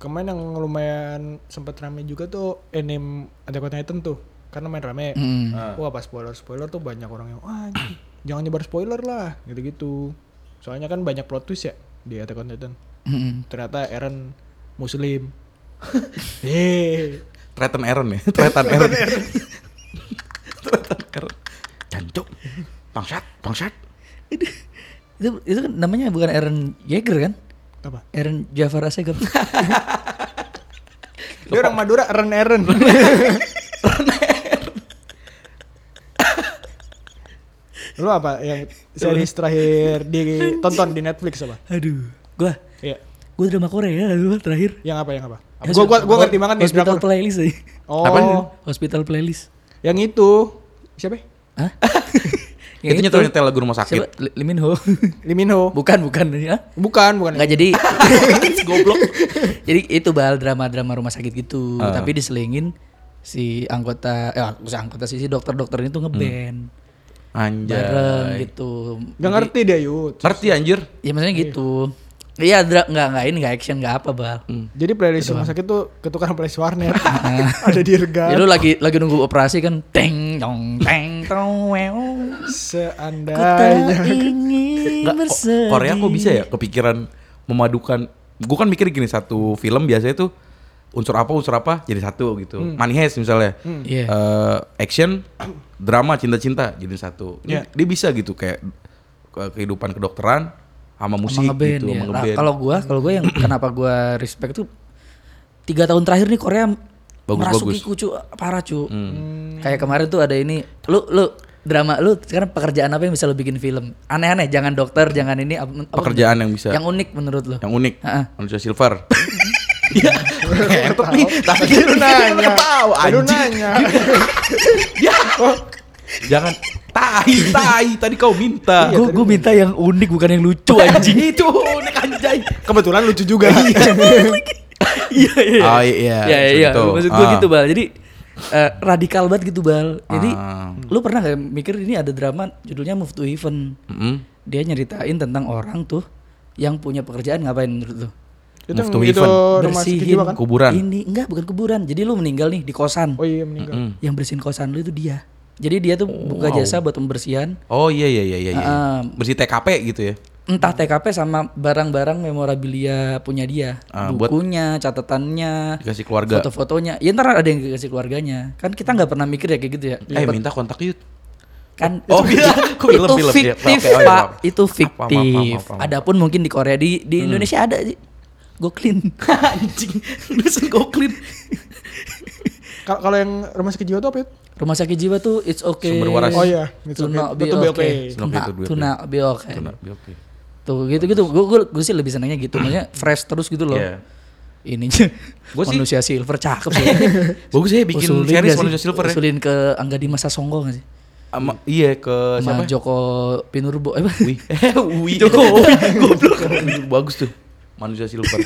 [SPEAKER 1] Kemarin yang lumayan sempat rame juga tuh anime Attack on Titan tuh. Karena main rame.
[SPEAKER 2] Hmm.
[SPEAKER 1] Wah pas spoiler-spoiler tuh banyak orang yang, wah anjing, jangan nyebar spoiler lah gitu-gitu. Soalnya kan banyak plot twist ya di Attack on Titan. Ternyata Eren muslim. Yeay.
[SPEAKER 2] Tretan Aaron ya, Tretan Aaron. Tretan Aaron. Jancuk. Bangsat, bangsat.
[SPEAKER 3] itu, itu kan namanya bukan Aaron Yeager kan?
[SPEAKER 1] Apa?
[SPEAKER 3] Aaron Jafar Asegaf.
[SPEAKER 1] Dia orang Madura Eren Eren. Lu apa yang series terakhir ditonton di Netflix apa?
[SPEAKER 3] Aduh, gua
[SPEAKER 1] Iya.
[SPEAKER 3] gua drama Korea dulu terakhir.
[SPEAKER 1] Yang apa yang apa? Gua gua gua ngerti banget nih
[SPEAKER 3] Hospital
[SPEAKER 1] drakor.
[SPEAKER 3] playlist aja.
[SPEAKER 1] Oh,
[SPEAKER 2] Apaan?
[SPEAKER 3] Hospital playlist.
[SPEAKER 1] yang itu siapa? ya?
[SPEAKER 3] Hah? Yang
[SPEAKER 2] Itu nyetel-nyetel lagu rumah sakit.
[SPEAKER 3] Ya Siapa? Li- Lee Min Ho.
[SPEAKER 1] Lee Min Ho.
[SPEAKER 3] bukan, bukan. Ya.
[SPEAKER 1] Bukan, bukan.
[SPEAKER 3] Nggak jadi goblok. jadi itu bal drama-drama rumah sakit gitu, tapi diselingin si anggota eh bukan anggota sih si dokter-dokter itu ngeband bareng
[SPEAKER 2] Anjay.
[SPEAKER 3] gitu.
[SPEAKER 1] Nggak ngerti dia Yud.
[SPEAKER 2] Ngerti anjir.
[SPEAKER 3] Ya maksudnya gitu. Iya, dra- nggak nggak ini nggak action nggak apa bal.
[SPEAKER 2] Hmm.
[SPEAKER 1] Jadi playlist rumah sakit tuh ketukaran playlist warnet. Ada dirga.
[SPEAKER 2] Iya.
[SPEAKER 3] Ya lu lagi lagi nunggu operasi kan teng tong teng tong weong. Ku tak
[SPEAKER 1] Seandainya.
[SPEAKER 3] ingin
[SPEAKER 2] Ya, Nggak, ko-
[SPEAKER 3] bersedih.
[SPEAKER 2] Korea kok bisa ya kepikiran memadukan gue kan mikir gini satu film biasanya tuh unsur apa unsur apa jadi satu gitu
[SPEAKER 1] Hmm.
[SPEAKER 2] Money Heist misalnya
[SPEAKER 3] Iya.
[SPEAKER 2] Eh, action drama cinta-cinta jadi satu
[SPEAKER 1] Iya.
[SPEAKER 2] Ini dia bisa gitu kayak ke- kehidupan kedokteran sama musik
[SPEAKER 3] sama ngeband
[SPEAKER 2] gitu
[SPEAKER 3] ya.
[SPEAKER 2] sama
[SPEAKER 3] Nah,
[SPEAKER 2] ngeband
[SPEAKER 3] kalau gua kalau gua yang kenapa gua respect tuh tiga tahun terakhir nih Korea
[SPEAKER 2] Bagus,
[SPEAKER 3] merasuki
[SPEAKER 2] bagus. Hmm.
[SPEAKER 3] kucu parah cu. Hmm. Kayak kemarin tuh ada ini lu lu drama lu sekarang pekerjaan apa yang bisa lu bikin film? Aneh-aneh, jangan dokter, jangan ini apa, apa-
[SPEAKER 2] pekerjaan yang bisa
[SPEAKER 3] yang unik menurut lu.
[SPEAKER 2] yang unik
[SPEAKER 3] Ha-ha.
[SPEAKER 2] manusia silver Iya, ngetot nih. Tapi
[SPEAKER 1] Lu nanya.
[SPEAKER 2] tahu
[SPEAKER 1] Lu
[SPEAKER 2] anjing.
[SPEAKER 1] nanya.
[SPEAKER 2] Jangan tai tai tadi kau minta.
[SPEAKER 3] Gua gua minta yang unik bukan yang lucu anjing.
[SPEAKER 2] itu unik anjay.
[SPEAKER 1] Kebetulan lucu juga.
[SPEAKER 3] Iya iya.
[SPEAKER 2] Oh, iya,
[SPEAKER 3] Iya
[SPEAKER 2] maksud
[SPEAKER 3] iya.
[SPEAKER 2] itu.
[SPEAKER 3] Maksud gue
[SPEAKER 2] Ah.
[SPEAKER 3] gitu bal. Jadi eh, radikal banget gitu bal. Jadi
[SPEAKER 2] Ah.
[SPEAKER 3] lu pernah gak mikir ini ada drama judulnya Move to Heaven.
[SPEAKER 2] Mm-mm.
[SPEAKER 3] Dia nyeritain tentang orang tuh yang punya pekerjaan ngapain menurut lu?
[SPEAKER 1] Itu yang
[SPEAKER 2] Move to
[SPEAKER 1] itu
[SPEAKER 2] heaven.
[SPEAKER 3] Oh,
[SPEAKER 1] rumah sakit jiwa kan?
[SPEAKER 2] Kuburan.
[SPEAKER 3] Ini enggak bukan kuburan. Jadi lu meninggal nih di kosan.
[SPEAKER 1] Oh iya meninggal.
[SPEAKER 2] Mm.
[SPEAKER 3] Yang bersihin kosan lu itu dia. Jadi dia tuh buka jasa buat pembersihan
[SPEAKER 2] Oh iya iya iya iya. iya.
[SPEAKER 3] Ah.
[SPEAKER 2] Bersih TKP gitu ya.
[SPEAKER 3] entah TKP sama barang-barang memorabilia punya dia,
[SPEAKER 2] Ah, buat-
[SPEAKER 3] bukunya, catatannya,
[SPEAKER 2] Dikasih keluarga.
[SPEAKER 3] foto-fotonya. Ya ntar ada yang dikasih keluarganya. Kan kita nggak pernah mikir ya kayak gitu ya.
[SPEAKER 2] Eh minta kontak yuk.
[SPEAKER 3] Kan
[SPEAKER 2] Oh, iya. Kok
[SPEAKER 3] itu
[SPEAKER 2] film-film? Iya,
[SPEAKER 3] fiktif
[SPEAKER 2] oke, oke, oke.
[SPEAKER 3] pak,
[SPEAKER 2] Apa, apa,
[SPEAKER 3] itu
[SPEAKER 2] apa, apa,
[SPEAKER 3] fiktif.
[SPEAKER 2] apa, apa.
[SPEAKER 3] Adapun mungkin di Korea di di
[SPEAKER 2] Hmm.
[SPEAKER 3] Indonesia ada sih. Go clean. Anjing, nulis go clean.
[SPEAKER 1] Kalau kalau yang rumah sakit jiwa tuh apa ya? itu?
[SPEAKER 3] Rumah sakit jiwa tuh it's okay.
[SPEAKER 2] Sumber waras.
[SPEAKER 1] Oh iya, it's
[SPEAKER 3] Itu
[SPEAKER 1] okay.
[SPEAKER 3] not be
[SPEAKER 1] Itu be okay.
[SPEAKER 3] okay. Nah,
[SPEAKER 2] It's not okay to be
[SPEAKER 3] To not be okay.
[SPEAKER 2] Oke.
[SPEAKER 3] Tuh gitu, gitu-gitu. Gue gue sih lebih senangnya gitu. Maksudnya fresh terus gitu loh.
[SPEAKER 2] Iya.
[SPEAKER 3] ininya
[SPEAKER 2] Gua sih-
[SPEAKER 3] manusia silver cakep sih.
[SPEAKER 2] Bagus ya bikin
[SPEAKER 3] Usulin
[SPEAKER 2] series
[SPEAKER 3] gak sih?
[SPEAKER 2] manusia silver ya.
[SPEAKER 3] Usulin ke Angga Dimas Sasongko gak sih?
[SPEAKER 2] Ama- iya ke siapa?
[SPEAKER 3] Sama Joko Pinurbo. Eh, apa?
[SPEAKER 2] Wi. Eh, Wi. Joko Wi. Goblok. Bagus tuh. Manusia silver.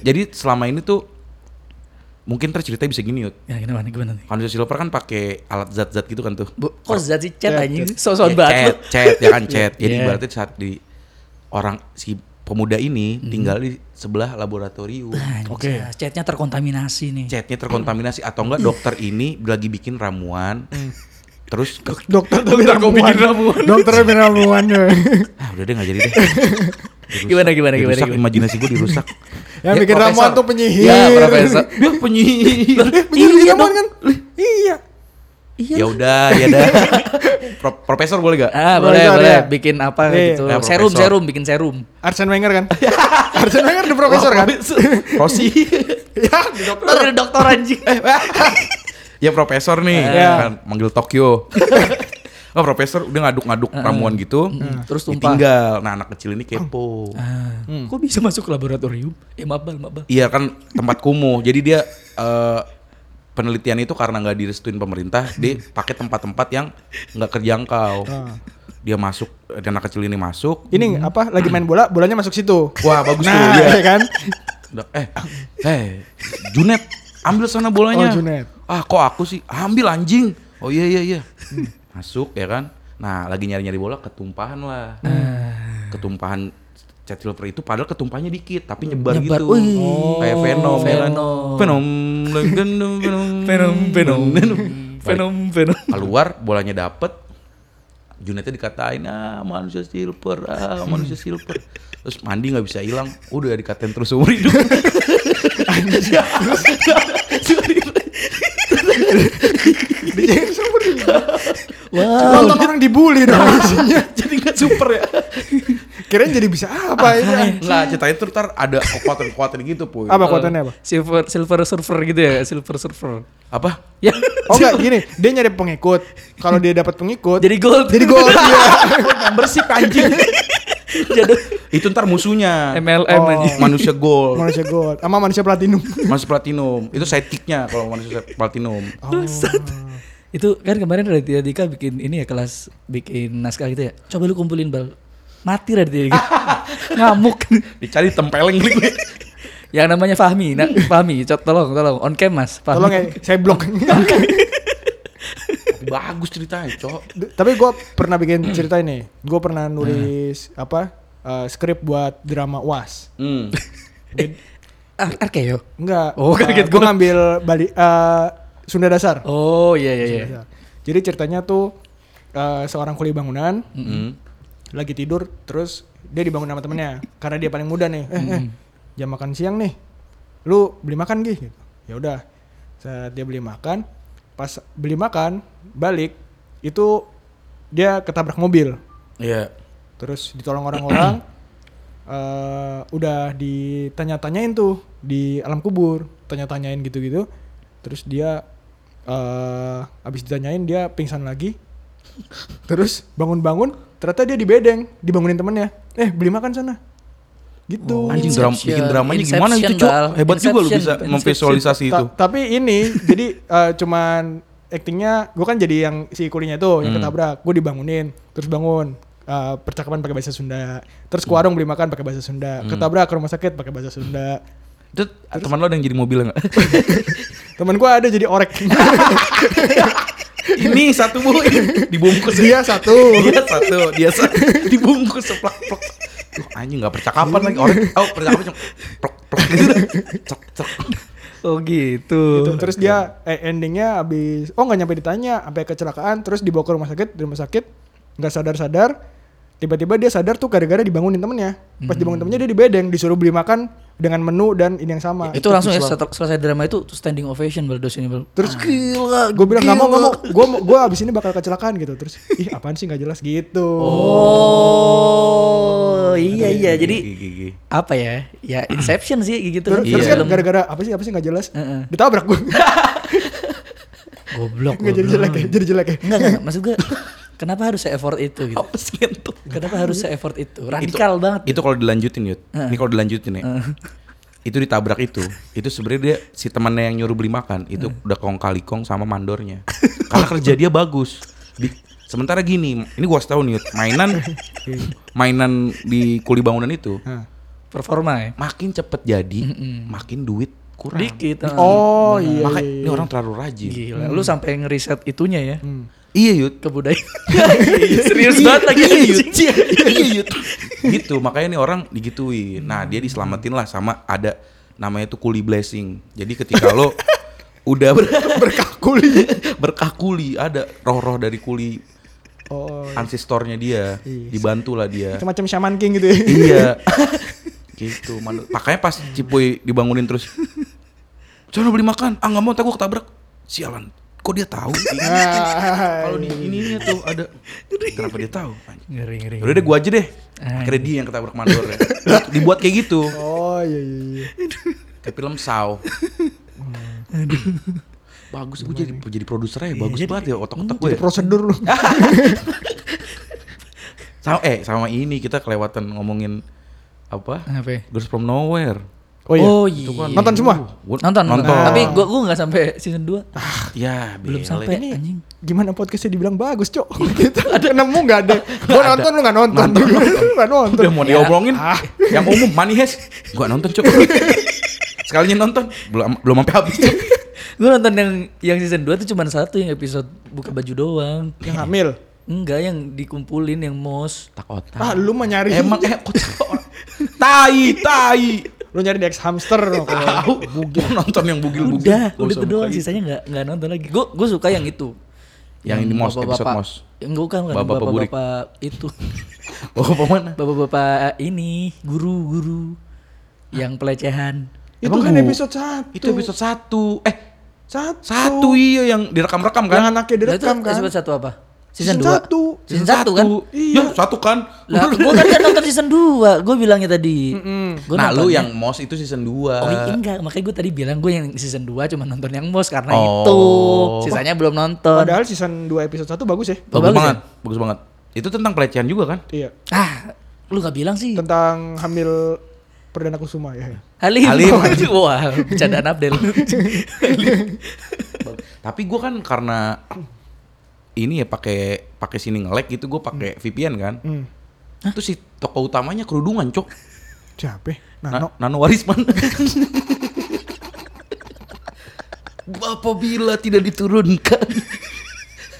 [SPEAKER 2] Jadi selama ini tuh mungkin tercerita bisa gini yuk.
[SPEAKER 3] ya gimana gimana nih?
[SPEAKER 2] Manusia silver kan pakai alat zat-zat gitu kan tuh.
[SPEAKER 3] Bu, kok zat sih chat
[SPEAKER 1] Chat,
[SPEAKER 3] anjing?
[SPEAKER 1] chat.
[SPEAKER 3] Sosok
[SPEAKER 2] Iya,
[SPEAKER 3] banget lu.
[SPEAKER 2] Chat, chat, ya kan chat. Jadi
[SPEAKER 3] Iya.
[SPEAKER 2] berarti saat di orang si pemuda ini
[SPEAKER 3] Mm-hmm.
[SPEAKER 2] tinggal di sebelah laboratorium.
[SPEAKER 3] Oke. ah, Chatnya terkontaminasi nih.
[SPEAKER 2] Chatnya terkontaminasi atau enggak dokter ini lagi bikin ramuan. Terus ke-
[SPEAKER 1] Dokter tapi ramuan. Dokter tapi ramuan.
[SPEAKER 2] ah udah deh nggak jadi deh.
[SPEAKER 3] Gimana gimana gimana?
[SPEAKER 2] Dirusak
[SPEAKER 3] gimana?
[SPEAKER 2] imajinasi gue dirusak.
[SPEAKER 1] Yang
[SPEAKER 2] Ya,
[SPEAKER 1] bikin
[SPEAKER 2] profesor.
[SPEAKER 1] ramuan tuh penyihir.
[SPEAKER 3] Ya, profesor.
[SPEAKER 2] Dia penyihir.
[SPEAKER 1] Eh, penyihir bikin ramuan kan? Iya.
[SPEAKER 2] ya udah, ya udah. Pro- profesor boleh gak?
[SPEAKER 3] Ah,
[SPEAKER 1] Profesor,
[SPEAKER 3] boleh boleh
[SPEAKER 1] ya.
[SPEAKER 3] bikin apa
[SPEAKER 1] Iya.
[SPEAKER 3] gitu.
[SPEAKER 2] Nah,
[SPEAKER 3] serum
[SPEAKER 2] profesor.
[SPEAKER 3] serum bikin serum.
[SPEAKER 1] Arsene Wenger kan? Arsene Wenger the profesor kan?
[SPEAKER 2] Rosi.
[SPEAKER 1] Ya,
[SPEAKER 3] Dokter dokter anjing.
[SPEAKER 2] Eh, wah. ya profesor nih
[SPEAKER 3] Ah.
[SPEAKER 1] Iya.
[SPEAKER 2] kan manggil Tokyo oh profesor udah ngaduk-ngaduk ramuan gitu
[SPEAKER 3] Ah. Hmm. Terus tumpah.
[SPEAKER 2] ditinggal nah anak kecil
[SPEAKER 1] Oh.
[SPEAKER 2] ini kepo
[SPEAKER 3] Ah,
[SPEAKER 2] Hmm.
[SPEAKER 3] Kok bisa masuk ke laboratorium? Eh maaf bal, maaf bal.
[SPEAKER 2] iya kan tempat kumuh jadi dia eh, penelitian itu karena nggak direstuin pemerintah dia pakai tempat-tempat yang nggak kerjangkau dia masuk eh, anak kecil ini masuk
[SPEAKER 1] Ini apa lagi main bola, bolanya masuk situ.
[SPEAKER 2] wah bagus tuh
[SPEAKER 1] Nah,
[SPEAKER 2] dia
[SPEAKER 1] iya kan?
[SPEAKER 2] Udah, eh, eh, Junet, ambil sana bolanya.
[SPEAKER 1] Oh, Junet.
[SPEAKER 2] Ah, kok aku sih? Ambil anjing. Oh iya iya iya. Masuk ya kan. Nah, lagi nyari-nyari bola ketumpahan lah.
[SPEAKER 3] Ah.
[SPEAKER 2] Ketumpahan cat silver itu padahal ketumpahnya dikit tapi nyebar,
[SPEAKER 3] Nyebar,
[SPEAKER 2] gitu.
[SPEAKER 3] wih.
[SPEAKER 2] Kayak Venom, ya kan?
[SPEAKER 3] Venom.
[SPEAKER 2] Venom. Venom.
[SPEAKER 3] Venom, Hmm. Venom.
[SPEAKER 2] Balik
[SPEAKER 3] Venom, Venom.
[SPEAKER 2] keluar bolanya dapet Junetnya dikatain ah manusia silver ah manusia silver terus mandi nggak bisa hilang udah dikatain terus seumur hidup
[SPEAKER 3] Wow.
[SPEAKER 1] Nonton orang dibully dong isinya.
[SPEAKER 2] jadi nggak super ya
[SPEAKER 1] Kirain jadi bisa apa ini? kan?
[SPEAKER 2] nggak ceritanya tuh ntar ada kekuatan-kekuatan gitu puy
[SPEAKER 1] Apa kuatannya apa?
[SPEAKER 3] Eh, Silver Silver Surfer gitu ya, Silver Surfer.
[SPEAKER 2] apa
[SPEAKER 3] Ya.
[SPEAKER 1] Oh enggak gini, dia nyari pengikut. Kalau dia dapat pengikut,
[SPEAKER 3] Jadi gold.
[SPEAKER 1] jadi iya. gol dia. Membership anjing.
[SPEAKER 3] Jadi
[SPEAKER 2] itu ntar musuhnya
[SPEAKER 3] MLM
[SPEAKER 1] Oh.
[SPEAKER 3] anjing.
[SPEAKER 2] manusia gold
[SPEAKER 1] Manusia gol sama manusia platinum.
[SPEAKER 2] manusia platinum itu sidekicknya kalau manusia platinum
[SPEAKER 1] Oh.
[SPEAKER 3] Bangsat. Itu kan kemarin Raditya Dika bikin ini ya kelas bikin naskah gitu ya. Coba lu kumpulin bal. Mati Raditya Dika. Ngamuk.
[SPEAKER 2] dicari tempeleng gitu
[SPEAKER 3] Yang namanya Fahmi, nah, Fahmi, cot tolong tolong on cam Mas. Fahmi.
[SPEAKER 1] Tolong ya, saya blok.
[SPEAKER 2] bagus ceritanya cok
[SPEAKER 1] D- Tapi gue pernah bikin cerita ini. Gue pernah nulis
[SPEAKER 3] Hmm.
[SPEAKER 1] apa? eh, skrip buat drama UAS.
[SPEAKER 2] hmm.
[SPEAKER 3] Ar- Arkeo.
[SPEAKER 1] Enggak.
[SPEAKER 3] Oh, kaget
[SPEAKER 1] gue
[SPEAKER 3] gua.
[SPEAKER 1] ngambil Bali eh, Sunda Dasar.
[SPEAKER 3] Oh iya iya iya.
[SPEAKER 1] Dasar. Jadi ceritanya tuh eh, seorang kuli bangunan
[SPEAKER 2] Hmm.
[SPEAKER 1] lagi tidur terus dia dibangun sama temennya karena dia paling muda nih. Eh,
[SPEAKER 3] Hmm.
[SPEAKER 1] eh, jam makan siang nih. Lu beli makan gih gitu. Ya udah. Saat dia beli makan, pas beli makan balik itu dia ketabrak mobil.
[SPEAKER 2] Iya.
[SPEAKER 1] terus ditolong orang-orang eh udah ditanya-tanyain tuh di alam kubur tanya-tanyain gitu-gitu terus dia eh abis ditanyain dia pingsan lagi terus bangun-bangun ternyata dia dibedeng dibangunin temennya eh beli makan sana gitu
[SPEAKER 2] Anjing drama,
[SPEAKER 3] Oh, Inception.
[SPEAKER 2] bikin dramanya gimana itu
[SPEAKER 3] Inception,
[SPEAKER 2] cok
[SPEAKER 3] Bal.
[SPEAKER 2] Hebat juga lu bisa
[SPEAKER 3] Inception.
[SPEAKER 2] memvisualisasi
[SPEAKER 1] Ta-
[SPEAKER 2] itu
[SPEAKER 1] tapi ini jadi eh, cuman actingnya gue kan jadi yang si kulinya tuh yang
[SPEAKER 2] Hmm.
[SPEAKER 1] ketabrak gue dibangunin terus bangun Eh, percakapan pakai bahasa Sunda terus ke warung beli makan pakai bahasa Sunda ketabrak ke rumah sakit pakai bahasa Sunda
[SPEAKER 2] Itu teman lo ada yang jadi mobilnya gak?
[SPEAKER 1] temen gue ada jadi orek Gitu.
[SPEAKER 2] Ini satu bu Dibungkus ya.
[SPEAKER 1] dia satu
[SPEAKER 2] Dia satu Dia satu Dibungkus seplak plak Duh anjing gak percakapan lagi Orang Oh percakapan cuma Plak plak gitu Cek cek
[SPEAKER 3] Oh gitu.
[SPEAKER 1] Gitu. terus dia eh, endingnya habis oh nggak nyampe ditanya sampai kecelakaan terus dibawa ke rumah sakit di rumah sakit nggak sadar sadar tiba-tiba dia sadar tuh gara-gara dibangunin temennya pas dibangunin temennya dia dibedeng disuruh beli makan dengan menu dan ini yang sama
[SPEAKER 3] itu langsung ya setel- selesai drama itu standing ovation bal dos ini bal.
[SPEAKER 1] Terus
[SPEAKER 3] gila.
[SPEAKER 1] gue Ah. bilang nggak mau nggak mau gue gue abis ini bakal kecelakaan gitu terus ih apaan sih nggak jelas gitu
[SPEAKER 3] Oh iya iya jadi
[SPEAKER 2] Gigi, gigi.
[SPEAKER 3] apa ya ya Inception sih kayak gitu
[SPEAKER 1] terus,
[SPEAKER 3] kan.
[SPEAKER 1] terus
[SPEAKER 3] Iya.
[SPEAKER 1] kan gara-gara apa sih apa sih nggak jelas
[SPEAKER 3] Heeh.
[SPEAKER 1] ditabrak gue
[SPEAKER 3] goblok
[SPEAKER 1] nggak jadi jelek ya, jadi jelek ya.
[SPEAKER 3] enggak enggak maksud gue kenapa harus se-effort itu
[SPEAKER 1] Oh,
[SPEAKER 3] gitu
[SPEAKER 2] Apa
[SPEAKER 1] iya,
[SPEAKER 2] sih itu
[SPEAKER 3] kenapa harus se-effort itu radikal banget
[SPEAKER 2] Itu kalau dilanjutin Yud Ini kalau dilanjutin ya Itu ditabrak itu Itu sebenarnya dia Si temannya yang nyuruh beli makan Itu udah kong kali kong sama mandornya Karena kerja dia bagus Di- Sementara gini Ini gua harus tahu nih Yud Mainan Mainan di kuli bangunan itu
[SPEAKER 1] Hah.
[SPEAKER 3] performa ya
[SPEAKER 2] makin cepet jadi, makin duit kurang.
[SPEAKER 3] dikit ah.
[SPEAKER 1] oh Hmm. iya
[SPEAKER 2] Makanya
[SPEAKER 1] iya,
[SPEAKER 2] ini orang terlalu rajin.
[SPEAKER 3] gila lu sampai ngeriset itunya ya
[SPEAKER 1] Hmm.
[SPEAKER 2] Iya yud.
[SPEAKER 3] kebudayaan serius banget lagi
[SPEAKER 2] Iya yud.
[SPEAKER 3] anjing.
[SPEAKER 2] Iya yud. gitu makanya nih orang digituin. Nah dia diselamatin lah sama ada namanya tuh kuli blessing. Jadi ketika lo udah ber berkah kuli, berkah kuli ada roh-roh dari kuli
[SPEAKER 1] oh
[SPEAKER 2] ancestornya dia, dibantulah dia.
[SPEAKER 1] itu macam shaman king gitu ya
[SPEAKER 2] iya gitu manu- makanya pas Cipuy dibangunin terus coba beli makan ah nggak mau takut ketabrak sialan kok dia tahu Iya.
[SPEAKER 1] Ah,
[SPEAKER 2] kalau di ininya tuh ada kenapa dia tahu anjing.
[SPEAKER 3] ngeri ngeri
[SPEAKER 2] udah deh gua aja deh akhirnya dia yang ketabrak mandor ya. dibuat kayak gitu
[SPEAKER 1] oh iya iya iya.
[SPEAKER 2] kayak film saw bagus gue jadi jadi produser aja bagus banget ya otak-otak gue
[SPEAKER 1] Jadi
[SPEAKER 2] ya.
[SPEAKER 1] prosedur lu.
[SPEAKER 2] sama eh sama ini kita kelewatan ngomongin apa
[SPEAKER 3] Apa ya?
[SPEAKER 2] Girls from Nowhere
[SPEAKER 1] Oh iya.
[SPEAKER 3] Oh
[SPEAKER 1] Itu kan-
[SPEAKER 3] iya.
[SPEAKER 1] Nonton semua.
[SPEAKER 2] Gua-
[SPEAKER 3] Nonton,
[SPEAKER 2] nonton
[SPEAKER 3] Tapi gua gua enggak sampai season 2.
[SPEAKER 2] ya
[SPEAKER 3] Belum
[SPEAKER 2] bele.
[SPEAKER 3] sampai
[SPEAKER 1] Ini
[SPEAKER 3] anjing.
[SPEAKER 1] gimana podcastnya dibilang bagus, Cok? Gitu. Ada nemu enggak ada. Gua nonton lu enggak nonton. Lu enggak nonton.
[SPEAKER 2] udah mau diomongin yang umum Manihes Ya. Ah. gua nonton cok sekalinya nonton belum belum sampai habis Cok.
[SPEAKER 3] Gua nonton yang yang season 2 tuh cuma satu yang episode buka baju doang.
[SPEAKER 1] Yang hamil.
[SPEAKER 3] Enggak yang dikumpulin yang mos.
[SPEAKER 2] tak otak
[SPEAKER 1] Ah, lu mah nyari.
[SPEAKER 2] emang eh otak orang. tai tai
[SPEAKER 1] lu nyari di X hamster. lu.
[SPEAKER 2] tahu bugil nonton yang bugil bugil
[SPEAKER 3] Udah, udah itu doang
[SPEAKER 2] gitu.
[SPEAKER 3] sisanya enggak enggak nonton lagi. Gua gua suka yang itu.
[SPEAKER 2] Yang ini mos,
[SPEAKER 3] bapak-bapak-
[SPEAKER 2] episode mos.
[SPEAKER 3] Enggak bukan, bukan.
[SPEAKER 2] Bapak-bapak burik.
[SPEAKER 3] bapak-bapak itu.
[SPEAKER 2] oh kemana
[SPEAKER 3] Bapak-bapak ini guru-guru yang pelecehan.
[SPEAKER 1] Itu
[SPEAKER 2] Emang
[SPEAKER 1] kan
[SPEAKER 2] bu-
[SPEAKER 1] episode 1.
[SPEAKER 2] itu episode satu eh
[SPEAKER 1] satu.
[SPEAKER 2] satu iya yang direkam rekam
[SPEAKER 1] Yang
[SPEAKER 2] kan
[SPEAKER 1] anaknya
[SPEAKER 3] Lah, Nah, itu
[SPEAKER 1] direkam kan.
[SPEAKER 3] episode satu apa? Season
[SPEAKER 1] Season
[SPEAKER 3] 2.
[SPEAKER 1] satu.
[SPEAKER 3] Season 1 kan?
[SPEAKER 2] iya satu kan
[SPEAKER 3] Lah, gua tadi kan nonton season 2. Gua bilangnya tadi. Gua
[SPEAKER 2] nah lu
[SPEAKER 3] nontonnya-
[SPEAKER 2] yang mos itu season 2
[SPEAKER 3] Oh iya enggak, makanya gue tadi bilang gue yang season 2 cuma nonton yang MOS karena
[SPEAKER 2] Oh.
[SPEAKER 3] itu. Sisanya belum nonton.
[SPEAKER 1] Padahal season 2 episode 1 bagus ya.
[SPEAKER 3] Oh,
[SPEAKER 2] bagus
[SPEAKER 3] bagus
[SPEAKER 2] banget bagus banget itu tentang pelecehan juga kan
[SPEAKER 1] Iya.
[SPEAKER 3] Ah, lu gak bilang sih.
[SPEAKER 1] Tentang hamil Perdana Kusuma ya.
[SPEAKER 3] Halim.
[SPEAKER 2] Halim.
[SPEAKER 3] Wah, bercandaan Abdel.
[SPEAKER 2] Tapi gua kan karena ini ya pakai pakai sini nge-lag gitu gua pakai VPN kan.
[SPEAKER 1] Hmm.
[SPEAKER 2] Terus si toko utamanya kerudungan, Cok.
[SPEAKER 1] Siapa?
[SPEAKER 2] Na-
[SPEAKER 1] Nano.
[SPEAKER 2] Nano Warisman. Apabila tidak diturunkan,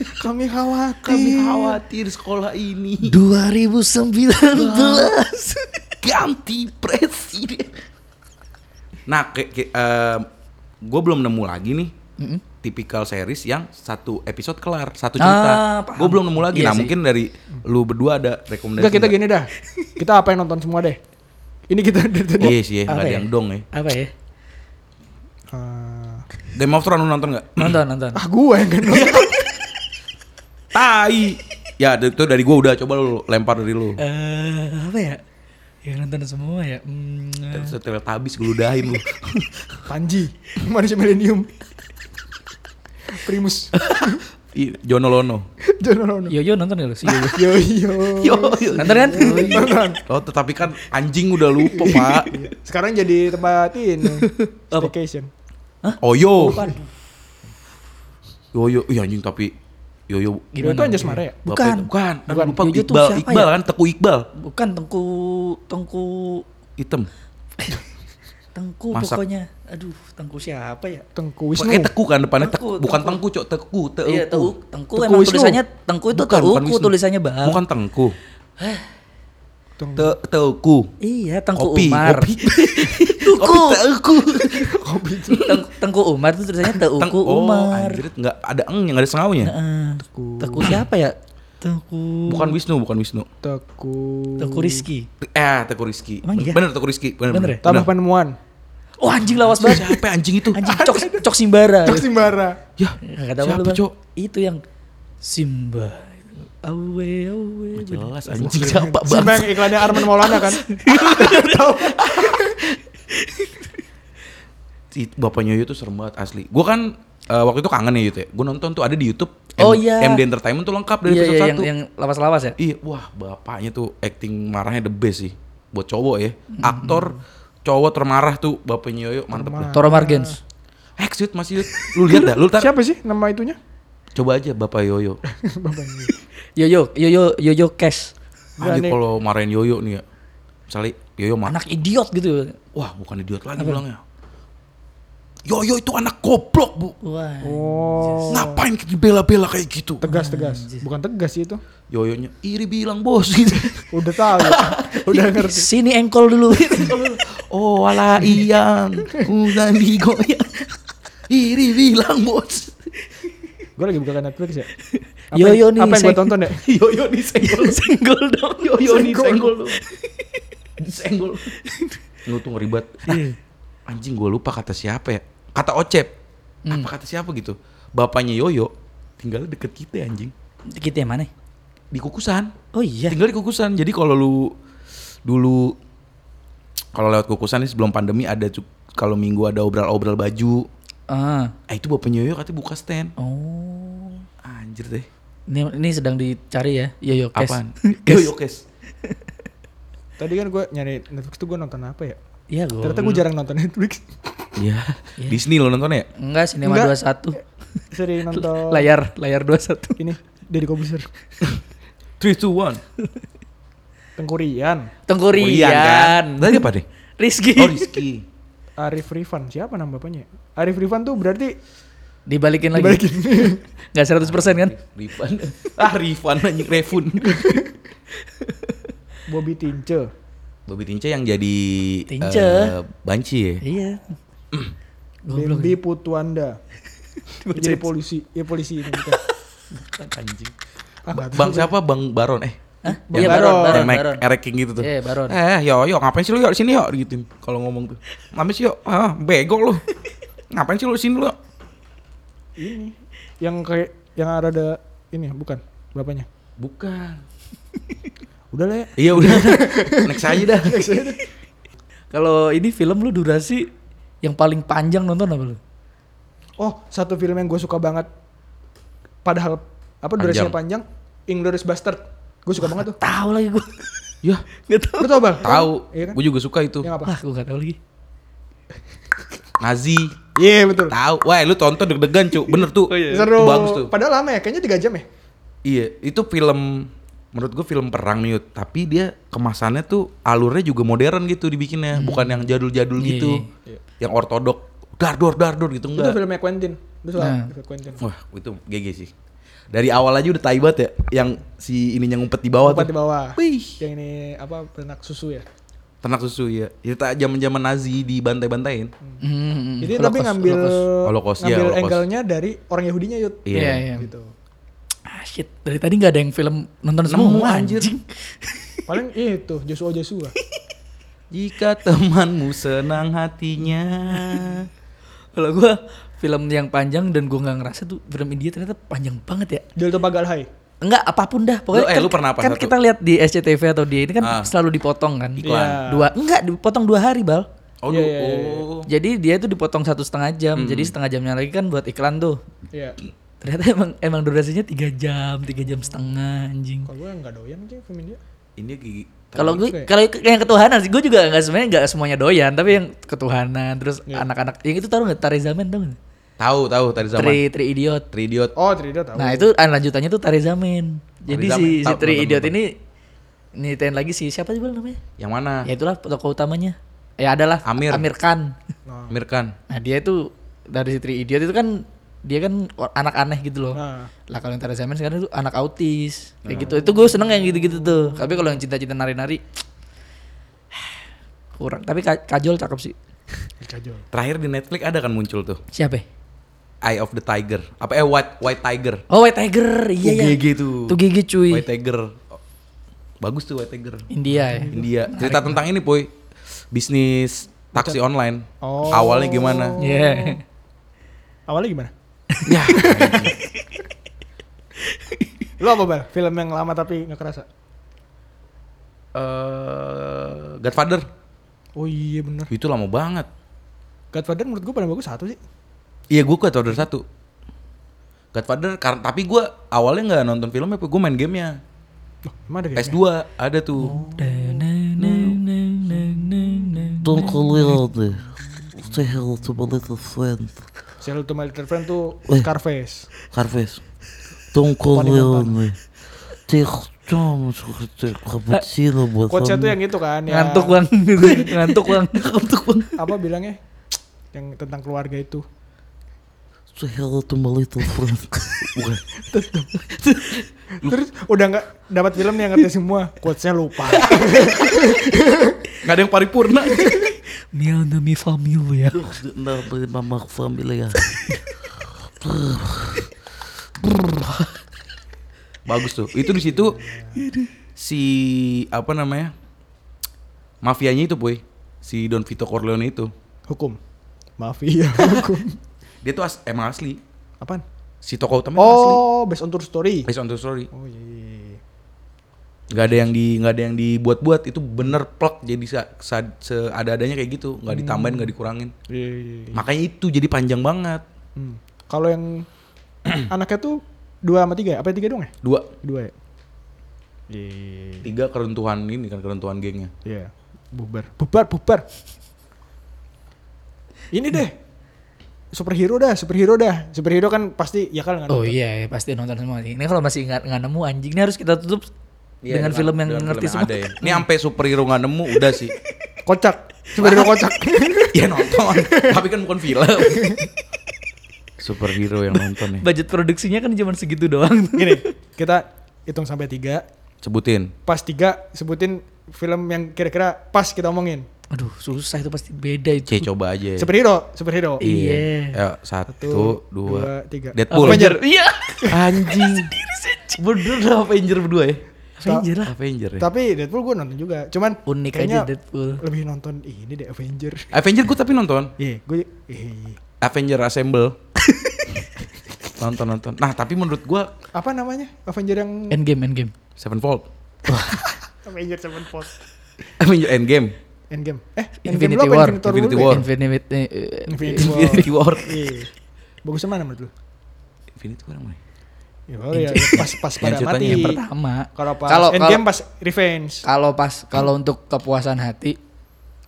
[SPEAKER 1] Iya. Kami khawatir.
[SPEAKER 2] kami khawatir sekolah ini
[SPEAKER 3] 2019.
[SPEAKER 2] ganti presiden. Nah, ke, gue belum nemu lagi nih tipikal series yang satu episode kelar satu
[SPEAKER 3] Ah,
[SPEAKER 2] cerita.
[SPEAKER 3] paham.
[SPEAKER 2] gue belum nemu lagi.
[SPEAKER 3] Iya
[SPEAKER 2] nah
[SPEAKER 3] sih.
[SPEAKER 2] mungkin dari lu berdua ada rekomendasi?
[SPEAKER 1] Enggak kita
[SPEAKER 2] nggak?
[SPEAKER 1] gini dah. Kita apa yang nonton semua deh. Ini kita dari tadi.
[SPEAKER 2] Iya sih, nggak
[SPEAKER 3] Apa
[SPEAKER 2] ada
[SPEAKER 3] ya?
[SPEAKER 2] yang dong ya.
[SPEAKER 3] Apa ya?
[SPEAKER 1] Ah.
[SPEAKER 2] Game of Thrones lu nonton nggak?
[SPEAKER 3] Nonton, nonton.
[SPEAKER 1] ah gue yang kan nonton.
[SPEAKER 2] Tai. Ya d- itu dari gua udah coba lu lempar dari lu.
[SPEAKER 3] Eh, apa ya? Ya nonton semua ya. Hmm, eh.
[SPEAKER 2] Setel tabis geludahin lu.
[SPEAKER 1] Panji. Manusia Millennium. Primus.
[SPEAKER 2] Ih, Iya, Jono Lono.
[SPEAKER 1] Jono Rono.
[SPEAKER 3] Yoyo nonton gak lu sih? Yoyo.
[SPEAKER 1] Yo yo.
[SPEAKER 3] Nonton kan?
[SPEAKER 1] Nonton.
[SPEAKER 2] Oh, tetapi kan anjing udah lupa, Pak.
[SPEAKER 1] Sekarang jadi tempat ini.
[SPEAKER 3] Apa?
[SPEAKER 1] Staycation.
[SPEAKER 2] Oyo.
[SPEAKER 3] Bukan.
[SPEAKER 2] Yoyo, ih anjing tapi Yoyo
[SPEAKER 1] Gimana? Itu Anjas Mare ya?
[SPEAKER 2] Bapak
[SPEAKER 3] Bukan.
[SPEAKER 2] itu- Bukan. Aduh,
[SPEAKER 1] Bukan.
[SPEAKER 2] lupa
[SPEAKER 3] Yoyo tuh
[SPEAKER 2] Iqbal,
[SPEAKER 3] siapa
[SPEAKER 2] Iqbal
[SPEAKER 3] ya?
[SPEAKER 2] kan Teku Iqbal.
[SPEAKER 3] Bukan tengku tengku
[SPEAKER 2] Hitam.
[SPEAKER 3] tengku
[SPEAKER 2] Masak.
[SPEAKER 3] pokoknya. Aduh, tengku siapa ya?
[SPEAKER 1] Tengku Wisnu.
[SPEAKER 2] Eh teku kan depannya teku,
[SPEAKER 3] Teku,
[SPEAKER 2] bukan
[SPEAKER 3] Tengku.
[SPEAKER 2] tengku, Cok, teku, teku.
[SPEAKER 3] Iya, tengku. Tengku
[SPEAKER 1] Tengku
[SPEAKER 3] emang
[SPEAKER 1] Wisnu.
[SPEAKER 3] tulisannya tengku itu
[SPEAKER 2] Bukan, bukan
[SPEAKER 3] tengku
[SPEAKER 2] Wisnu.
[SPEAKER 3] tulisannya bang.
[SPEAKER 2] Bukan tengku.
[SPEAKER 1] Tengku.
[SPEAKER 2] Te teku.
[SPEAKER 3] Iya, Tengku
[SPEAKER 2] Kopi,
[SPEAKER 3] Umar.
[SPEAKER 2] kopi.
[SPEAKER 3] Tengku.
[SPEAKER 2] Teku.
[SPEAKER 3] Teng- Tengku Umar tuh tulisannya
[SPEAKER 2] Teng-
[SPEAKER 3] Tengku
[SPEAKER 2] oh,
[SPEAKER 3] Umar. Nah,
[SPEAKER 2] anjir, nggak ada eng yang ada sengawnya.
[SPEAKER 3] Heeh. Tengku siapa ya? Tengku
[SPEAKER 2] Bukan Wisnu, bukan Wisnu.
[SPEAKER 1] Teku.
[SPEAKER 3] Tengku Rizky.
[SPEAKER 2] Te- Eh, Teku Rizky.
[SPEAKER 3] Emang iya?
[SPEAKER 2] Bener Teku Rizky, bener.
[SPEAKER 3] Bener ya?
[SPEAKER 1] Tambah penemuan.
[SPEAKER 3] Oh anjing lawas banget.
[SPEAKER 2] Siapa anjing itu?
[SPEAKER 3] Anjing cok cok Simbara.
[SPEAKER 1] Cok Simbara.
[SPEAKER 2] Ya,
[SPEAKER 3] Enggak tahu lu,
[SPEAKER 2] siapa
[SPEAKER 3] Bang.
[SPEAKER 2] Cok?
[SPEAKER 3] Itu yang Simba. Awe awe.
[SPEAKER 2] Jelas anjing siapa
[SPEAKER 1] Simba
[SPEAKER 2] bang?
[SPEAKER 1] yang iklannya Arman Maulana kan?
[SPEAKER 2] Si Bapaknya Yoyo tuh serem banget asli. Gua kan eh, waktu itu kangen ya Yoyo. ya. Gua nonton tuh ada di YouTube.
[SPEAKER 3] Oh,
[SPEAKER 2] M-
[SPEAKER 3] iya.
[SPEAKER 2] MD Entertainment tuh lengkap dari
[SPEAKER 3] Iya,
[SPEAKER 2] episode
[SPEAKER 3] iya, yang
[SPEAKER 2] satu.
[SPEAKER 3] yang lawas-lawas ya?
[SPEAKER 2] Iya, wah bapaknya tuh acting marahnya the best sih. Buat cowok ya. Aktor cowok termarah tuh bapaknya Yoyo mantep deh.
[SPEAKER 3] Toro Margens.
[SPEAKER 2] Hex Yud, Mas Yud. Lu lihat dah, lu tar.
[SPEAKER 1] Siapa sih nama itunya?
[SPEAKER 2] Coba aja Bapak Yoyo.
[SPEAKER 3] Yoyo, Yoyo, Yoyo Cash.
[SPEAKER 2] Anjir
[SPEAKER 1] Berani.
[SPEAKER 2] kalau marahin Yoyo nih ya. Misalnya Yoyo marah.
[SPEAKER 3] Anak idiot gitu.
[SPEAKER 2] Wah, bukan idiot lagi bilangnya. Yoyo itu anak goblok, Bu.
[SPEAKER 3] Wah.
[SPEAKER 1] Oh.
[SPEAKER 2] Ngapain dibela-bela kayak gitu?
[SPEAKER 1] Tegas tegas. Bukan tegas sih itu.
[SPEAKER 2] Yoyonya iri bilang bos gitu.
[SPEAKER 1] Udah tahu. Udah ngerti.
[SPEAKER 3] Sini engkol dulu.
[SPEAKER 2] oh, ala iyang. Udah digoyang. iri bilang bos.
[SPEAKER 1] Gue lagi buka Netflix ya. yang-
[SPEAKER 3] Yoyo nih,
[SPEAKER 1] Apa yang gue
[SPEAKER 3] saya-
[SPEAKER 1] tonton ya?
[SPEAKER 2] Yoyo disenggol.
[SPEAKER 3] Senggol dong.
[SPEAKER 2] Yoyo
[SPEAKER 1] Disenggol.
[SPEAKER 2] disenggol. disenggol. Lu tuh ngeribet. Ah, anjing gue lupa kata siapa ya. Kata Ocep. Apa kata siapa gitu. Bapaknya Yoyo tinggal deket kita anjing.
[SPEAKER 3] Kita yang mana?
[SPEAKER 2] Di kukusan.
[SPEAKER 3] Oh iya.
[SPEAKER 2] Tinggal di kukusan. Jadi kalau lu dulu kalau lewat kukusan nih sebelum pandemi ada cu- kalau minggu ada obral-obral baju.
[SPEAKER 3] Ah.
[SPEAKER 2] Ah itu bapaknya Yoyo katanya buka stand.
[SPEAKER 3] Oh.
[SPEAKER 2] Anjir deh.
[SPEAKER 3] Ini, ini sedang dicari ya, Yoyo Cash.
[SPEAKER 2] Apaan?
[SPEAKER 3] Cash.
[SPEAKER 2] Yoyo Kes.
[SPEAKER 1] Tadi kan gue nyari Netflix tuh gue nonton apa ya?
[SPEAKER 3] Iya gue.
[SPEAKER 1] Ternyata gue jarang nonton Netflix.
[SPEAKER 2] Iya. Disney lo nontonnya ya?
[SPEAKER 3] Enggak, Cinema
[SPEAKER 1] Enggak.
[SPEAKER 3] 21.
[SPEAKER 1] Sering nonton
[SPEAKER 3] Layar, layar 21.
[SPEAKER 1] ini dari Kobuser.
[SPEAKER 2] 3, 2, 1.
[SPEAKER 1] Tengkurian.
[SPEAKER 3] Tengkurian.
[SPEAKER 2] Oh, iya, kan? Tadi apa nih?
[SPEAKER 3] Rizky.
[SPEAKER 2] Oh Rizky.
[SPEAKER 1] Arif Rifan siapa nama bapaknya? Arif Rifan tuh berarti
[SPEAKER 3] Dibalikin lagi.
[SPEAKER 1] dibalikin.
[SPEAKER 3] Enggak 100% kan?
[SPEAKER 2] Rifan. Ah Rifan anjing Refun.
[SPEAKER 1] Bobby Tince.
[SPEAKER 2] Bobby Tince yang jadi
[SPEAKER 3] Tince.
[SPEAKER 2] eh, banci ya.
[SPEAKER 3] Iya. Goblok.
[SPEAKER 1] Bambi Putuanda. Jadi polisi, ya polisi ini bukan.
[SPEAKER 3] Anjing.
[SPEAKER 1] Ah, nggak tahu
[SPEAKER 2] Bang
[SPEAKER 1] gue.
[SPEAKER 2] siapa? Bang Baron eh.
[SPEAKER 3] Hah?
[SPEAKER 1] Bang
[SPEAKER 3] Iya,
[SPEAKER 1] Baron.
[SPEAKER 3] Baron, Baron,
[SPEAKER 2] yang naik
[SPEAKER 3] Baron.
[SPEAKER 2] erek king gitu tuh.
[SPEAKER 3] Iya, Baron.
[SPEAKER 2] Eh, yo yo ngapain sih lu yo sini yo gitu. Kalau ngomong tuh. Ngapain sih yo? Ah, bego lu. ngapain sih lu sini lu?
[SPEAKER 1] ini yang kayak yang ada ini bukan bapaknya.
[SPEAKER 2] Bukan.
[SPEAKER 1] Udah lah ya.
[SPEAKER 2] Iya udah. Next aja dah.
[SPEAKER 3] Kalau ini film lu durasi yang paling panjang nonton apa lu?
[SPEAKER 1] Oh, satu film yang gue suka banget. Padahal apa durasinya panjang? Inglourious Bastard. Gue suka banget tuh.
[SPEAKER 3] Tahu lagi gue.
[SPEAKER 2] ya,
[SPEAKER 3] Gak tahu.
[SPEAKER 1] Lu tau bang?
[SPEAKER 2] tahu.
[SPEAKER 1] Iya kan?
[SPEAKER 2] Gue juga suka itu.
[SPEAKER 1] Yang apa?
[SPEAKER 3] Wah, gue gak tahu lagi.
[SPEAKER 2] Nazi.
[SPEAKER 1] Iya betul.
[SPEAKER 2] Tahu. Wah, lu tonton deg-degan, Cuk. Bener tuh.
[SPEAKER 1] Seru.
[SPEAKER 2] iya. Itu Bagus tuh.
[SPEAKER 1] Padahal lama ya, kayaknya 3 jam ya.
[SPEAKER 2] Iya, itu film menurut gue film perang nih, tapi dia kemasannya tuh alurnya juga modern gitu dibikinnya, bukan yang jadul-jadul
[SPEAKER 3] Hmm. Iya,
[SPEAKER 2] gitu. Yang ortodok, dardor dardor gitu
[SPEAKER 1] Itu
[SPEAKER 2] enggak.
[SPEAKER 1] filmnya Quentin. Itu soal
[SPEAKER 3] Nah.
[SPEAKER 1] film Quentin.
[SPEAKER 2] Wah, itu GG sih. Dari awal aja udah tai banget ya, yang si ininya ngumpet di bawah
[SPEAKER 1] Tempat di
[SPEAKER 2] tuh.
[SPEAKER 1] bawah.
[SPEAKER 2] Wih,
[SPEAKER 1] Yang ini apa penak susu ya.
[SPEAKER 2] ternak susu ya. Cerita zaman-zaman Nazi dibantai-bantain.
[SPEAKER 3] Hmm,
[SPEAKER 1] Jadi tapi
[SPEAKER 3] Holocaust,
[SPEAKER 1] ngambil
[SPEAKER 3] Holocaust.
[SPEAKER 2] Holocaust, iya,
[SPEAKER 1] ngambil
[SPEAKER 2] Holocaust.
[SPEAKER 1] angle-nya dari orang Yahudinya yut.
[SPEAKER 2] Iya.
[SPEAKER 3] Iya, iya.
[SPEAKER 1] Gitu.
[SPEAKER 3] Ah shit, dari tadi nggak ada yang film nonton
[SPEAKER 2] Nemu,
[SPEAKER 3] semua
[SPEAKER 2] anjir.
[SPEAKER 3] anjing.
[SPEAKER 1] Paling itu Joshua Joshua.
[SPEAKER 2] Jika temanmu senang hatinya.
[SPEAKER 3] Kalau gua film yang panjang dan gua nggak ngerasa tuh film India ternyata panjang banget ya.
[SPEAKER 1] Del Tobagal High.
[SPEAKER 3] Enggak apapun dah pokoknya.
[SPEAKER 2] Lu- eh,
[SPEAKER 3] kan,
[SPEAKER 2] lu pernah apa
[SPEAKER 3] kan
[SPEAKER 2] satu?
[SPEAKER 3] kita lihat di SCTV atau di ini kan
[SPEAKER 2] Ah.
[SPEAKER 3] selalu dipotong kan.
[SPEAKER 2] Iklan.
[SPEAKER 1] Iya.
[SPEAKER 3] Dua enggak dipotong dua hari bal.
[SPEAKER 2] Oh,
[SPEAKER 1] Iya,
[SPEAKER 2] lu-
[SPEAKER 1] iya, iya, iya.
[SPEAKER 2] oh. Hmm.
[SPEAKER 3] Jadi dia itu dipotong satu setengah jam. Jadi setengah jamnya lagi kan buat iklan tuh.
[SPEAKER 1] Iya.
[SPEAKER 3] Ternyata emang emang durasinya tiga jam, tiga jam setengah anjing.
[SPEAKER 1] Kalau gue nggak doyan sih film India.
[SPEAKER 2] Ini gigi.
[SPEAKER 3] Kalau
[SPEAKER 1] Oke.
[SPEAKER 3] gue kalau ke- yang ketuhanan sih gue juga nggak semuanya nggak semuanya doyan tapi yang ketuhanan terus
[SPEAKER 1] Iya.
[SPEAKER 3] anak-anak yang itu taruh nggak Tarezamen tau nggak?
[SPEAKER 2] Tahu, tahu tadi zaman.
[SPEAKER 3] Tri Tri Idiot.
[SPEAKER 2] Tri Idiot.
[SPEAKER 1] Oh, Trida tahu.
[SPEAKER 3] Nah itu ah, lanjutannya tuh Tarezamen. Jadi si,
[SPEAKER 2] Tarezamen,
[SPEAKER 3] si
[SPEAKER 2] tahu,
[SPEAKER 3] Tri
[SPEAKER 2] nonton,
[SPEAKER 3] Idiot
[SPEAKER 2] nonton.
[SPEAKER 3] ini nitain lagi si siapa sih Bal namanya?
[SPEAKER 2] Yang mana?
[SPEAKER 3] Ya itulah tokoh utamanya. Ya adalah
[SPEAKER 2] Nah. Amir.
[SPEAKER 3] Amir Khan.
[SPEAKER 2] Mirkan.
[SPEAKER 3] Nah dia itu dari si Tri Idiot itu kan dia kan or- anak aneh gitu loh.
[SPEAKER 1] Nah.
[SPEAKER 3] Lah kalau yang Tarezamen sekarang itu anak autis kayak gitu. Itu gue seneng yang gitu-gitu tuh. Tapi kalau yang cinta-cinta nari-nari kurang. Tapi Ka- Kajol cakep sih.
[SPEAKER 1] Dikajol.
[SPEAKER 2] Terakhir di Netflix ada kan muncul tuh.
[SPEAKER 3] Siapa? ya?
[SPEAKER 2] Eye of the Tiger. Apa eh White White Tiger.
[SPEAKER 3] Oh White Tiger, iya ya.
[SPEAKER 2] UGG tuh.
[SPEAKER 3] Tuh gigi cuy.
[SPEAKER 2] White Tiger. Bagus tuh White Tiger.
[SPEAKER 3] India ya.
[SPEAKER 2] India. Cerita tentang ini, Boy. Bisnis taksi online.
[SPEAKER 1] Oh.
[SPEAKER 2] Awalnya gimana?
[SPEAKER 3] Iya.
[SPEAKER 1] Awalnya gimana?
[SPEAKER 2] ya.
[SPEAKER 1] Lu apa bal? Film yang lama tapi nggak kerasa.
[SPEAKER 2] Eh, Godfather.
[SPEAKER 1] Oh iya bener.
[SPEAKER 2] Itu lama banget.
[SPEAKER 1] Godfather menurut gue paling bagus satu sih.
[SPEAKER 2] Iya, gue Godfather satu. Godfather, kar- tapi gue awalnya nggak nonton filmnya, gue main gamenya.
[SPEAKER 3] Oh,
[SPEAKER 1] Loh, emang ada kayaknya?
[SPEAKER 2] PS2 Iya. ada tuh.
[SPEAKER 4] Don't call me out there. Say hello to my little friend,
[SPEAKER 1] Sell to my little friend tuh
[SPEAKER 4] Eh.
[SPEAKER 1] Scarface.
[SPEAKER 4] Carves. Don't call me
[SPEAKER 1] Понятно.
[SPEAKER 4] out there. Ты хочешь
[SPEAKER 2] Eh,
[SPEAKER 4] сказать капучино,
[SPEAKER 1] Quotesnya tuh
[SPEAKER 4] братан?
[SPEAKER 1] yang itu kan ya.
[SPEAKER 3] Ngantuk bang, ngantuk bang, ngantuk bang.
[SPEAKER 1] Apa bilangnya? Yang tentang keluarga itu.
[SPEAKER 4] Say hello to my little friend.
[SPEAKER 1] Terus udah nggak dapat film yang ngerti semua. Quotesnya lupa.
[SPEAKER 2] Nggak ada yang paripurna.
[SPEAKER 3] Mia na mi
[SPEAKER 4] ya.
[SPEAKER 3] familia.
[SPEAKER 4] Nama mama familia.
[SPEAKER 2] Bagus tuh. Itu di situ si apa namanya? Mafianya itu, Boy. Si Don Vito Corleone itu.
[SPEAKER 1] Hukum. Mafia hukum.
[SPEAKER 2] Dia tuh as- emang asli.
[SPEAKER 1] Apaan?
[SPEAKER 2] Si tokoh utama emang asli.
[SPEAKER 1] Oh, based on Oh, true story. iya,
[SPEAKER 2] Based on the story.
[SPEAKER 1] Oh iya. iya, iya.
[SPEAKER 2] nggak ada yang di nggak ada yang dibuat-buat itu bener plek jadi sa- sa- seada-adanya kayak gitu nggak
[SPEAKER 3] Hmm.
[SPEAKER 2] ditambahin nggak dikurangin
[SPEAKER 1] Iya, iya, iya.
[SPEAKER 2] makanya itu jadi panjang banget
[SPEAKER 1] Hmm. Kalau yang anaknya tuh dua sama tiga, ya? apa tiga doang ya?
[SPEAKER 2] dua
[SPEAKER 1] Dua ya. Iya.
[SPEAKER 2] tiga keruntuhan ini kan keruntuhan gengnya
[SPEAKER 1] Iya. Bubar, bubar, bubar. Ini deh. Superhero dah, superhero dah. Superhero kan pasti ya kan nggak
[SPEAKER 3] Oh
[SPEAKER 1] nonton.
[SPEAKER 3] iya, iya, pasti nonton semua sih. Ini kalau masih nggak nggak nemu anjing ini harus kita tutup
[SPEAKER 2] Iya,
[SPEAKER 3] dengan film yang
[SPEAKER 2] dengan
[SPEAKER 3] ngerti
[SPEAKER 2] film yang
[SPEAKER 3] semua.
[SPEAKER 2] ada ya. ini sampai superhero nggak nemu udah sih
[SPEAKER 1] Kocak. Superhero kocak.
[SPEAKER 2] ya nonton tapi kan bukan film superhero yang nonton nih
[SPEAKER 3] Budget produksinya kan cuma segitu doang.
[SPEAKER 1] Gini, kita hitung sampai tiga.
[SPEAKER 2] sebutin
[SPEAKER 1] Pas tiga sebutin film yang kira-kira pas kita omongin.
[SPEAKER 3] Aduh, susah itu pasti beda itu.
[SPEAKER 2] c coba aja
[SPEAKER 1] Superhero, superhero.
[SPEAKER 3] Iya.
[SPEAKER 2] Ayo, satu dua,
[SPEAKER 1] tiga.
[SPEAKER 2] Deadpool
[SPEAKER 1] Avenger.
[SPEAKER 3] Iya.
[SPEAKER 2] anjing
[SPEAKER 3] Bener lah Avenger berdua ya. Avenger lah.
[SPEAKER 2] Avenger ya?
[SPEAKER 1] Tapi Deadpool gue nonton juga. Cuman
[SPEAKER 3] Unik aja
[SPEAKER 1] kayaknya
[SPEAKER 3] Deadpool.
[SPEAKER 1] Lebih nonton ini deh Avenger.
[SPEAKER 2] Avenger gue tapi nonton
[SPEAKER 1] Iya, gue eh,
[SPEAKER 2] Avenger Assemble nonton nonton nah tapi menurut gue
[SPEAKER 1] apa namanya? Avenger yang
[SPEAKER 3] Endgame, Endgame.
[SPEAKER 2] Sevenfold
[SPEAKER 1] Avenger Sevenfold.
[SPEAKER 2] Avenger Endgame
[SPEAKER 1] Endgame. Eh, Endgame lu
[SPEAKER 3] Infinity
[SPEAKER 1] apa
[SPEAKER 3] War.
[SPEAKER 1] Infinity War? dulu
[SPEAKER 2] Infinity War.
[SPEAKER 1] ya?
[SPEAKER 3] Infinity, eh, eh,
[SPEAKER 1] Infinity War.
[SPEAKER 3] Infinity War.
[SPEAKER 1] Iya. Bagus mana menurut lu?
[SPEAKER 2] Infinity War yang mana
[SPEAKER 1] Ya, kalau ya pas pas
[SPEAKER 2] Yang
[SPEAKER 1] pada
[SPEAKER 2] ceritanya
[SPEAKER 1] mati.
[SPEAKER 3] Iya.
[SPEAKER 2] yang
[SPEAKER 3] Pertama.
[SPEAKER 1] Kalau pas
[SPEAKER 3] Kalau-
[SPEAKER 1] Endgame
[SPEAKER 3] kalau-
[SPEAKER 1] pas Revenge.
[SPEAKER 3] Kalau pas kalau untuk kepuasan hati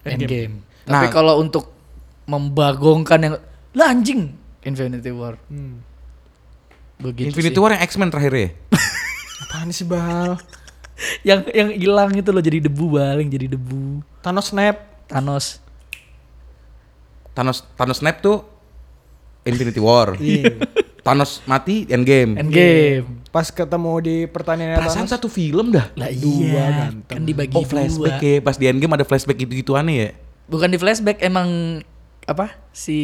[SPEAKER 3] Endgame. Tapi
[SPEAKER 2] Nah.
[SPEAKER 3] kalau untuk membagongkan yang lah anjing Infinity War.
[SPEAKER 1] Hmm.
[SPEAKER 3] Begitu
[SPEAKER 2] Infinity
[SPEAKER 3] sih.
[SPEAKER 2] War yang X-Men terakhir ya
[SPEAKER 1] Apaan sih, Bal?
[SPEAKER 3] Yang yang hilang itu loh jadi debu baling jadi debu.
[SPEAKER 1] Thanos snap.
[SPEAKER 3] Thanos.
[SPEAKER 2] Thanos Thanos snap tuh Infinity War
[SPEAKER 1] Iya.
[SPEAKER 2] Thanos mati Endgame
[SPEAKER 3] Endgame.
[SPEAKER 1] Pas ketemu di pertanian
[SPEAKER 2] perasaan satu film dah
[SPEAKER 3] Lah
[SPEAKER 1] Dua
[SPEAKER 3] iya.
[SPEAKER 1] ganteng.
[SPEAKER 3] Kan dibagi
[SPEAKER 2] oh
[SPEAKER 3] dua.
[SPEAKER 2] flashback ya pas di Endgame ada flashback gitu gituannya ya
[SPEAKER 3] Bukan di flashback emang apa si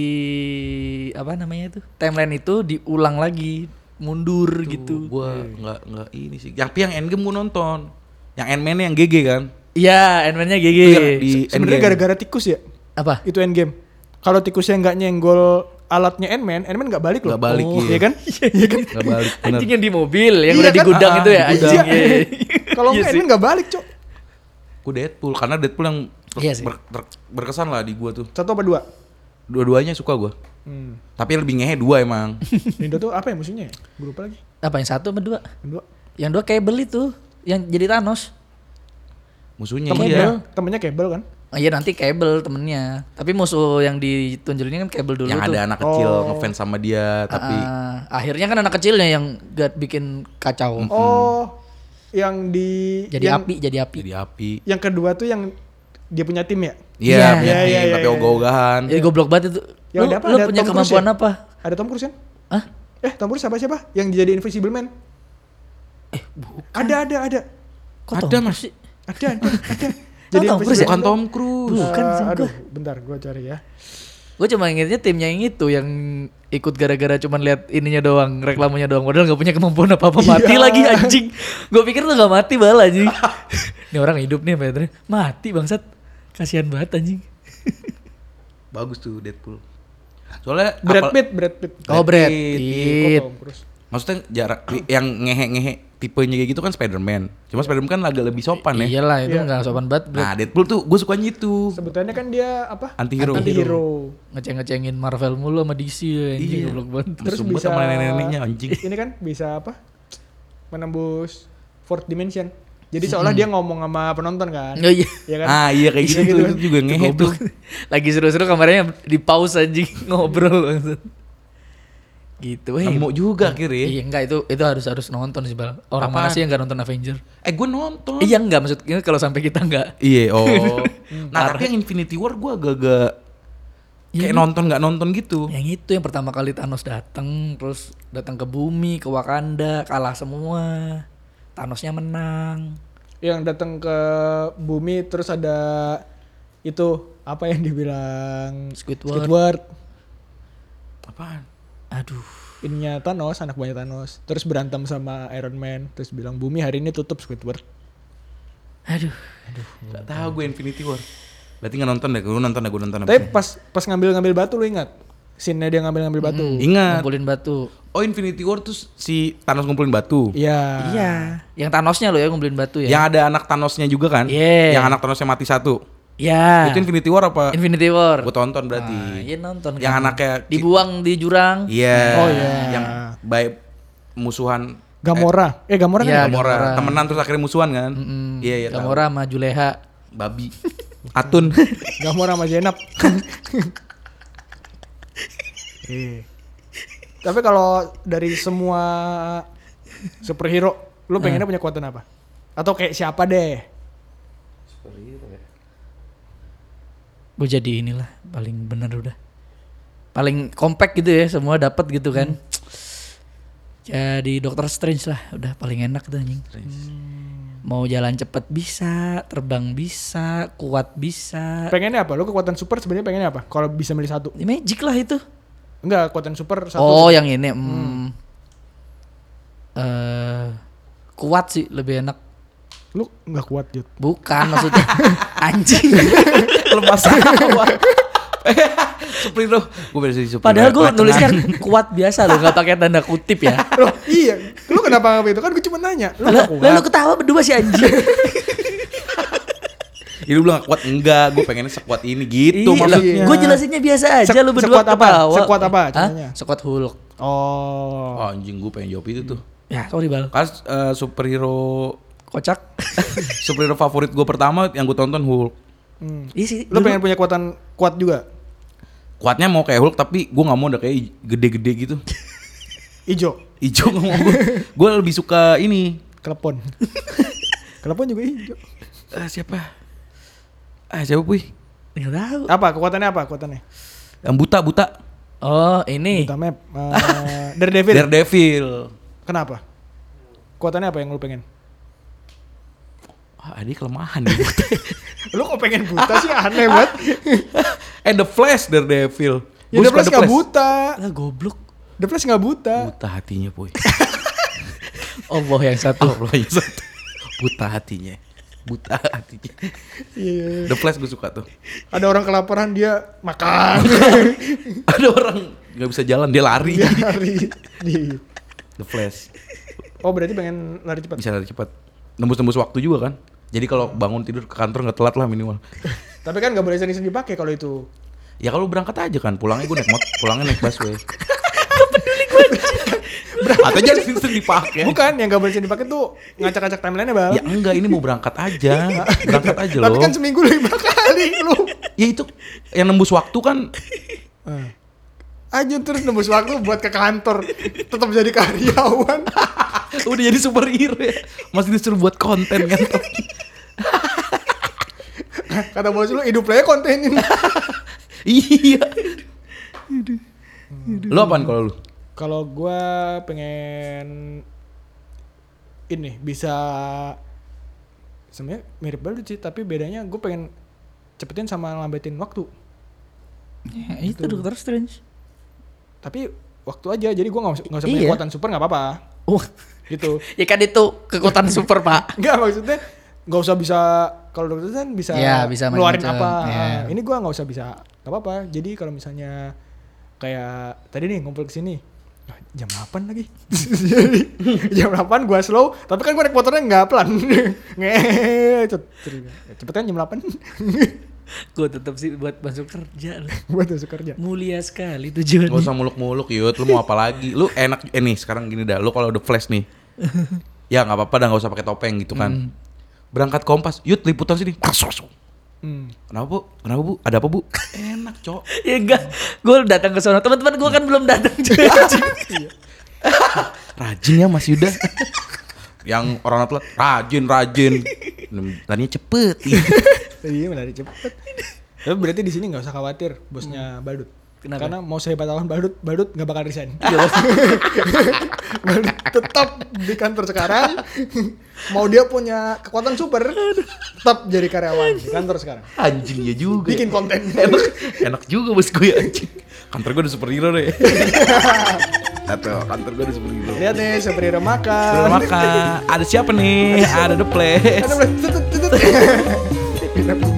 [SPEAKER 3] apa namanya itu timeline itu diulang lagi mundur gitu.
[SPEAKER 2] gue nggak nggak ini sih tapi yang Endgame gue nonton yang Endman yang GG kan
[SPEAKER 3] Iya, Endman-nya GG.
[SPEAKER 2] Itu yang di
[SPEAKER 1] Sebenarnya
[SPEAKER 2] Endgame.
[SPEAKER 1] gara-gara tikus ya?
[SPEAKER 3] Apa?
[SPEAKER 1] Itu Endgame. Kalau tikusnya nggak nyenggol alatnya Endman, Endman nggak balik loh.
[SPEAKER 2] Nggak balik,
[SPEAKER 1] oh,
[SPEAKER 2] iya.
[SPEAKER 1] iya kan? Iya kan?
[SPEAKER 2] nggak balik bener
[SPEAKER 3] Anjing yang di mobil yang
[SPEAKER 1] Iya
[SPEAKER 3] udah di
[SPEAKER 1] kan?
[SPEAKER 3] gudang
[SPEAKER 2] Ah,
[SPEAKER 3] itu ya
[SPEAKER 2] di gudang.
[SPEAKER 3] anjing. Iya.
[SPEAKER 1] Kalau
[SPEAKER 3] Iya
[SPEAKER 1] nggak
[SPEAKER 3] sih.
[SPEAKER 1] Endman nggak balik, Cok.
[SPEAKER 2] gue Deadpool karena Deadpool yang ber-
[SPEAKER 3] Iya sih.
[SPEAKER 2] ber- ter- berkesan lah di gue tuh
[SPEAKER 1] Satu apa dua?
[SPEAKER 2] dua-duanya suka gue
[SPEAKER 1] Hmm.
[SPEAKER 2] tapi lebih ngehe dua emang
[SPEAKER 1] Indo tuh apa ya musuhnya ya? Gue lupa lagi.
[SPEAKER 3] Apa yang satu sama dua?
[SPEAKER 1] Yang Dua.
[SPEAKER 3] Yang dua kayak beli tuh yang jadi Thanos.
[SPEAKER 2] musuhnya
[SPEAKER 3] Temennya.
[SPEAKER 2] iya
[SPEAKER 1] Kabel. Temennya kabel kan?
[SPEAKER 3] Oh, iya nanti Cable temennya. Tapi musuh yang ditunjulinnya kan Cable dulu
[SPEAKER 2] yang
[SPEAKER 3] tuh.
[SPEAKER 2] ada anak kecil
[SPEAKER 1] Oh.
[SPEAKER 2] ngefans sama dia tapi
[SPEAKER 3] Ah, akhirnya kan anak kecilnya yang gak bikin kacau.
[SPEAKER 2] Hmm.
[SPEAKER 1] Oh, yang di
[SPEAKER 3] jadi
[SPEAKER 1] yang,
[SPEAKER 3] api, jadi api.
[SPEAKER 2] jadi api
[SPEAKER 1] Yang kedua tuh yang dia punya tim ya?
[SPEAKER 2] Iya, punya
[SPEAKER 3] Iya.
[SPEAKER 1] Iya,
[SPEAKER 2] tim,
[SPEAKER 1] iya, iya,
[SPEAKER 2] tapi
[SPEAKER 1] iya.
[SPEAKER 2] ogah-ogahan.
[SPEAKER 3] Jadi goblok banget itu.
[SPEAKER 1] Ya
[SPEAKER 3] lu
[SPEAKER 1] udah apa,
[SPEAKER 3] lu
[SPEAKER 1] ada
[SPEAKER 3] punya
[SPEAKER 1] Tom Cruise
[SPEAKER 3] kemampuan
[SPEAKER 1] ya?
[SPEAKER 3] apa?
[SPEAKER 1] Ada Tom Cruise kan?
[SPEAKER 3] Hah?
[SPEAKER 1] Eh, Tom Cruise siapa siapa? Yang jadi Invisible Man? Ada ada ada.
[SPEAKER 3] Kok
[SPEAKER 2] Ada,
[SPEAKER 3] Tom
[SPEAKER 2] Mas.
[SPEAKER 3] Cruise sih?
[SPEAKER 1] Ada ada ada.
[SPEAKER 3] Tom Cruise ya?
[SPEAKER 2] Bukan
[SPEAKER 1] Man
[SPEAKER 2] Tom
[SPEAKER 1] tuh,
[SPEAKER 2] Cruise.
[SPEAKER 3] Bukan
[SPEAKER 1] eh,
[SPEAKER 3] sih, gua.
[SPEAKER 1] aduh, bentar gua cari ya.
[SPEAKER 3] Gue cuma ingetnya timnya yang itu yang ikut gara-gara cuman lihat ininya doang, reklamanya doang. Padahal nggak punya kemampuan apa-apa mati
[SPEAKER 1] Iya.
[SPEAKER 3] lagi anjing. Gue pikir tuh nggak mati bala anjing. Ini orang hidup nih Peter. Mati bangsat. Kasihan banget anjing.
[SPEAKER 2] Bagus tuh Deadpool. Soalnya
[SPEAKER 1] Brad
[SPEAKER 2] apal-
[SPEAKER 1] Pitt, Brad Pitt.
[SPEAKER 3] Oh
[SPEAKER 2] Brad
[SPEAKER 3] Brad
[SPEAKER 1] Kok
[SPEAKER 3] Pitt.
[SPEAKER 1] Tom Cruise?
[SPEAKER 2] Maksudnya jarak yang ngehe-ngehe tipenya kayak gitu kan Spider-Man. Cuma Spider-Man kan agak lebih sopan ya.
[SPEAKER 3] Iyalah itu
[SPEAKER 1] Iya.
[SPEAKER 3] nggak sopan banget. Brad.
[SPEAKER 2] Nah, Deadpool tuh gue sukanya itu.
[SPEAKER 1] Sebutannya kan dia apa?
[SPEAKER 2] Antihero.
[SPEAKER 1] Antihero.
[SPEAKER 3] Ngeceng-ngecengin Marvel mulu sama DC ya, anjing
[SPEAKER 2] Iya.
[SPEAKER 3] goblok banget.
[SPEAKER 1] Terus
[SPEAKER 2] Sumbat
[SPEAKER 1] bisa
[SPEAKER 2] sama nenek-neneknya, anjing.
[SPEAKER 1] Ini kan bisa apa? Menembus fourth dimension. Jadi seolah dia ngomong sama penonton kan.
[SPEAKER 3] Oh iya.
[SPEAKER 1] Iya kan?
[SPEAKER 2] Ah, iya kayak gitu,
[SPEAKER 1] Iya, gitu kan.
[SPEAKER 2] tuh, itu juga ngehe tuh.
[SPEAKER 3] Goblok. Lagi seru-seru kameranya di pause anjing ngobrol bangsat. Gitu. Weh,
[SPEAKER 2] Nemu juga akhirnya. ya.
[SPEAKER 3] Iya enggak itu itu harus harus nonton sih bal. Orang
[SPEAKER 2] Apaan?
[SPEAKER 3] mana sih yang enggak nonton Avenger?
[SPEAKER 2] Eh, gue nonton.
[SPEAKER 3] Iya enggak maksudnya kalau sampai kita enggak.
[SPEAKER 2] Iya, oh. nah, tapi yang Infinity War gue agak-agak
[SPEAKER 3] Iya.
[SPEAKER 2] kayak nonton nggak nonton gitu.
[SPEAKER 3] Yang itu yang pertama kali Thanos datang terus datang ke bumi ke Wakanda kalah semua. Thanosnya menang.
[SPEAKER 1] Yang datang ke bumi terus ada itu apa yang dibilang
[SPEAKER 3] Squidward.
[SPEAKER 2] Apaan?
[SPEAKER 3] Aduh.
[SPEAKER 1] Ininya Thanos, anak buahnya Thanos. Terus berantem sama Iron Man, terus bilang bumi hari ini tutup Squidward.
[SPEAKER 3] Aduh.
[SPEAKER 2] Gak tahu gue Infinity War. Berarti nggak nonton deh, gue nonton deh, gue nonton.
[SPEAKER 1] Tapi pas pas ngambil-ngambil batu lu ingat? scene-nya dia ngambil-ngambil batu.
[SPEAKER 3] Hmm.
[SPEAKER 2] Ingat.
[SPEAKER 3] Ngumpulin batu.
[SPEAKER 2] Oh Infinity War tuh si Thanos ngumpulin batu.
[SPEAKER 1] Iya.
[SPEAKER 3] Iya. Yang Thanosnya lo ya ngumpulin batu ya.
[SPEAKER 2] Yang ada anak Thanosnya juga kan?
[SPEAKER 3] Iya.
[SPEAKER 2] Yang anak Thanosnya mati satu.
[SPEAKER 3] Ya.
[SPEAKER 2] Itu Infinity War apa?
[SPEAKER 3] Infinity War.
[SPEAKER 2] Gue tonton berarti.
[SPEAKER 3] Ah, iya nonton.
[SPEAKER 2] Yang
[SPEAKER 3] kan.
[SPEAKER 2] anaknya
[SPEAKER 3] dibuang di jurang.
[SPEAKER 2] Gitu. Iya.
[SPEAKER 1] Oh, iya.
[SPEAKER 2] Yang baik musuhan
[SPEAKER 1] Gamora. Eh, Gamora kan?
[SPEAKER 3] Iya,
[SPEAKER 2] Gamora.
[SPEAKER 3] Gamora.
[SPEAKER 2] Temenan terus akhirnya musuhan kan?
[SPEAKER 3] Mm,
[SPEAKER 2] Iya iya. tahu.
[SPEAKER 3] Gamora sama Juleha.
[SPEAKER 2] Babi. Atun.
[SPEAKER 1] Gamora sama Zainab. Iya. Tapi kalau dari semua superhero, lu pengennya punya kekuatan apa? Atau kayak siapa deh?
[SPEAKER 3] Gue jadi inilah paling bener udah. Paling compact gitu ya, semua dapat gitu kan.
[SPEAKER 2] Hmm.
[SPEAKER 3] Jadi Doctor Strange lah, udah paling enak tuh anjing. Hmm. Mau jalan cepet bisa, terbang bisa, kuat bisa.
[SPEAKER 1] Pengennya apa? Lu kekuatan super sebenarnya pengennya apa? Kalau bisa milih satu.
[SPEAKER 3] Ya, Magic lah itu.
[SPEAKER 1] Enggak, kekuatan super satu.
[SPEAKER 3] Oh, yang ini. mm.
[SPEAKER 2] Hmm.
[SPEAKER 3] Eh, kuat sih lebih enak.
[SPEAKER 1] Lu nggak kuat, Jut.
[SPEAKER 3] Bukan maksudnya anjing.
[SPEAKER 2] Lepas sawah. Superhero. Gue berarti superhero.
[SPEAKER 3] Padahal gue
[SPEAKER 2] Lacengan.
[SPEAKER 3] nuliskan kuat biasa loh, nggak pakai tanda kutip ya.
[SPEAKER 1] Loh, iya. Lu kenapa ngapain itu? Kan gue cuma nanya. Lu nggak
[SPEAKER 3] Lalu,
[SPEAKER 1] kuat.
[SPEAKER 3] lalu ketawa berdua si anjing.
[SPEAKER 2] Jadi lu bilang kuat enggak, gue pengennya sekuat ini gitu maksudnya.
[SPEAKER 1] maksudnya.
[SPEAKER 3] Gue Iya, jelasinnya biasa aja
[SPEAKER 1] Sek-
[SPEAKER 3] lu berdua
[SPEAKER 1] sekuat apa?
[SPEAKER 3] ketawa.
[SPEAKER 1] Sekuat apa
[SPEAKER 3] Hah?
[SPEAKER 1] caranya?
[SPEAKER 3] Sekuat Hulk.
[SPEAKER 1] Oh.
[SPEAKER 2] Oh, anjing gue pengen jawab itu tuh.
[SPEAKER 3] Ya, sorry Bal.
[SPEAKER 2] Karena eh, superhero
[SPEAKER 3] Kocak.
[SPEAKER 2] superhero favorit gue pertama yang gue tonton Hulk.
[SPEAKER 1] Hmm.
[SPEAKER 3] Iya sih.
[SPEAKER 1] Lu
[SPEAKER 3] dulu.
[SPEAKER 1] pengen punya kekuatan kuat juga?
[SPEAKER 2] Kuatnya mau kayak Hulk tapi gue nggak mau udah kayak i- gede-gede gitu.
[SPEAKER 1] Ijo,
[SPEAKER 2] Ijo nggak mau gue. Gue lebih suka ini.
[SPEAKER 1] kelepon. kelepon juga ijo.
[SPEAKER 2] Eh, siapa? Ah siapa puy?
[SPEAKER 3] Nggak tahu.
[SPEAKER 1] Apa kekuatannya apa kekuatannya?
[SPEAKER 2] Yang buta buta.
[SPEAKER 3] Oh, ini.
[SPEAKER 1] Kita map eh, Daredevil.
[SPEAKER 2] Daredevil.
[SPEAKER 1] Kenapa? Kekuatannya apa yang lu pengen?
[SPEAKER 2] Wah, ini kelemahan. nih.
[SPEAKER 1] Lu kok pengen buta sih aneh banget.
[SPEAKER 2] eh The Flash Daredevil.
[SPEAKER 1] Ya
[SPEAKER 2] Gua
[SPEAKER 1] The
[SPEAKER 2] suka
[SPEAKER 1] Flash nggak buta.
[SPEAKER 3] Lah goblok.
[SPEAKER 1] The Flash nggak buta.
[SPEAKER 2] Buta hatinya puy.
[SPEAKER 3] Allah yang satu.
[SPEAKER 2] Allah yang satu. Buta hatinya. Buta hatinya.
[SPEAKER 1] Iya, iya, iya.
[SPEAKER 2] The Flash gue suka tuh.
[SPEAKER 1] Ada orang kelaparan dia makan.
[SPEAKER 2] Ada orang nggak bisa jalan dia lari.
[SPEAKER 1] Dia lari. Di-
[SPEAKER 2] The Flash
[SPEAKER 1] Oh berarti pengen lari cepat.
[SPEAKER 2] bisa lari cepat. Nembus-nembus waktu juga kan. Jadi kalau bangun tidur ke kantor nggak telat lah minimal.
[SPEAKER 1] Tapi kan nggak boleh sendiri-sendiri pakai kalau itu.
[SPEAKER 2] Ya kalau berangkat aja kan, pulangnya gue naik mot, pulangnya naik busway. Atau jangan sering dipakai.
[SPEAKER 1] Bukan yang nggak boleh sendiri pakai tuh ngacak-ngacak timelinenya bang.
[SPEAKER 2] Iya. Ya enggak, ini mau berangkat aja. Berangkat aja
[SPEAKER 1] Tapi
[SPEAKER 2] loh.
[SPEAKER 1] kan seminggu lima kali lu.
[SPEAKER 2] Ya itu yang nembus waktu kan
[SPEAKER 1] Eh. Ajun terus nembus waktu buat ke kantor, tetap jadi karyawan.
[SPEAKER 2] udah jadi superhero ya. Masih disuruh buat konten kan.
[SPEAKER 1] Kata bos lu hidup aja kontenin.
[SPEAKER 2] iya. Lo apaan kalau lu?
[SPEAKER 1] Kalau gua pengen ini bisa sebenarnya mirip banget sih, tapi bedanya gue pengen cepetin sama lambetin waktu.
[SPEAKER 3] Ya, itu Doctor Strange.
[SPEAKER 1] Tapi waktu aja, jadi gua nggak usah- nggak usah punya
[SPEAKER 3] Iya.
[SPEAKER 1] kekuatan super nggak apa-apa.
[SPEAKER 3] Wah.
[SPEAKER 1] Gitu.
[SPEAKER 3] ya kan itu kekuatan super, Pak.
[SPEAKER 1] Enggak maksudnya nggak usah bisa kalau dokter kan bisa,
[SPEAKER 3] Iya, bisa
[SPEAKER 1] ngeluarin
[SPEAKER 3] macam-macam.
[SPEAKER 1] apa. Ah,
[SPEAKER 3] Iya.
[SPEAKER 1] Ini gua nggak usah bisa nggak apa-apa. Jadi kalau misalnya kayak tadi nih ngumpul ke sini ah, jam 8 lagi. Jadi jam 8 gua slow, tapi kan gua naik motornya nggak pelan. Ngecet. Cepet kan jam 8
[SPEAKER 3] Gue tetap sih buat masuk kerja loh.
[SPEAKER 1] buat masuk kerja.
[SPEAKER 3] Mulia sekali
[SPEAKER 2] Gak
[SPEAKER 3] tujuannya.
[SPEAKER 2] usah muluk-muluk yut, lu mau apa lagi? Lu enak, eh nih sekarang gini dah, lu kalau udah flash nih Ya gak apa-apa dah gak usah pakai topeng gitu kan Berangkat kompas, yut liputan sini
[SPEAKER 1] Hmm.
[SPEAKER 2] Kenapa bu? Kenapa bu? Ada apa bu? Enak cok
[SPEAKER 3] Ya enggak, gue datang ke sana. Teman-teman gue kan belum datang. cuy.
[SPEAKER 2] Rajin ya mas Yuda Yang orang atlet, rajin rajin Larinya cepet
[SPEAKER 1] Iya menarik cepet. Hmm. Tapi berarti di sini nggak usah khawatir bosnya Badut.
[SPEAKER 3] Kenapa?
[SPEAKER 1] Karena mau sehebat tahun Badut, Badut nggak bakal resign. Badut Iya. tetap di kantor sekarang. mau dia punya kekuatan super, tetap jadi karyawan di kantor sekarang.
[SPEAKER 2] Anjing ya juga
[SPEAKER 1] Bikin konten.
[SPEAKER 2] Enak, enak juga bos gue ya anjing Kantor gue udah superhero deh Satu, kantor gue udah superhero
[SPEAKER 1] Lihat nih superhero
[SPEAKER 2] Belum
[SPEAKER 1] makan.
[SPEAKER 2] makan. Ada siapa nih? Ada The Place.
[SPEAKER 1] Ada boleh, tut, tut, tut, tut.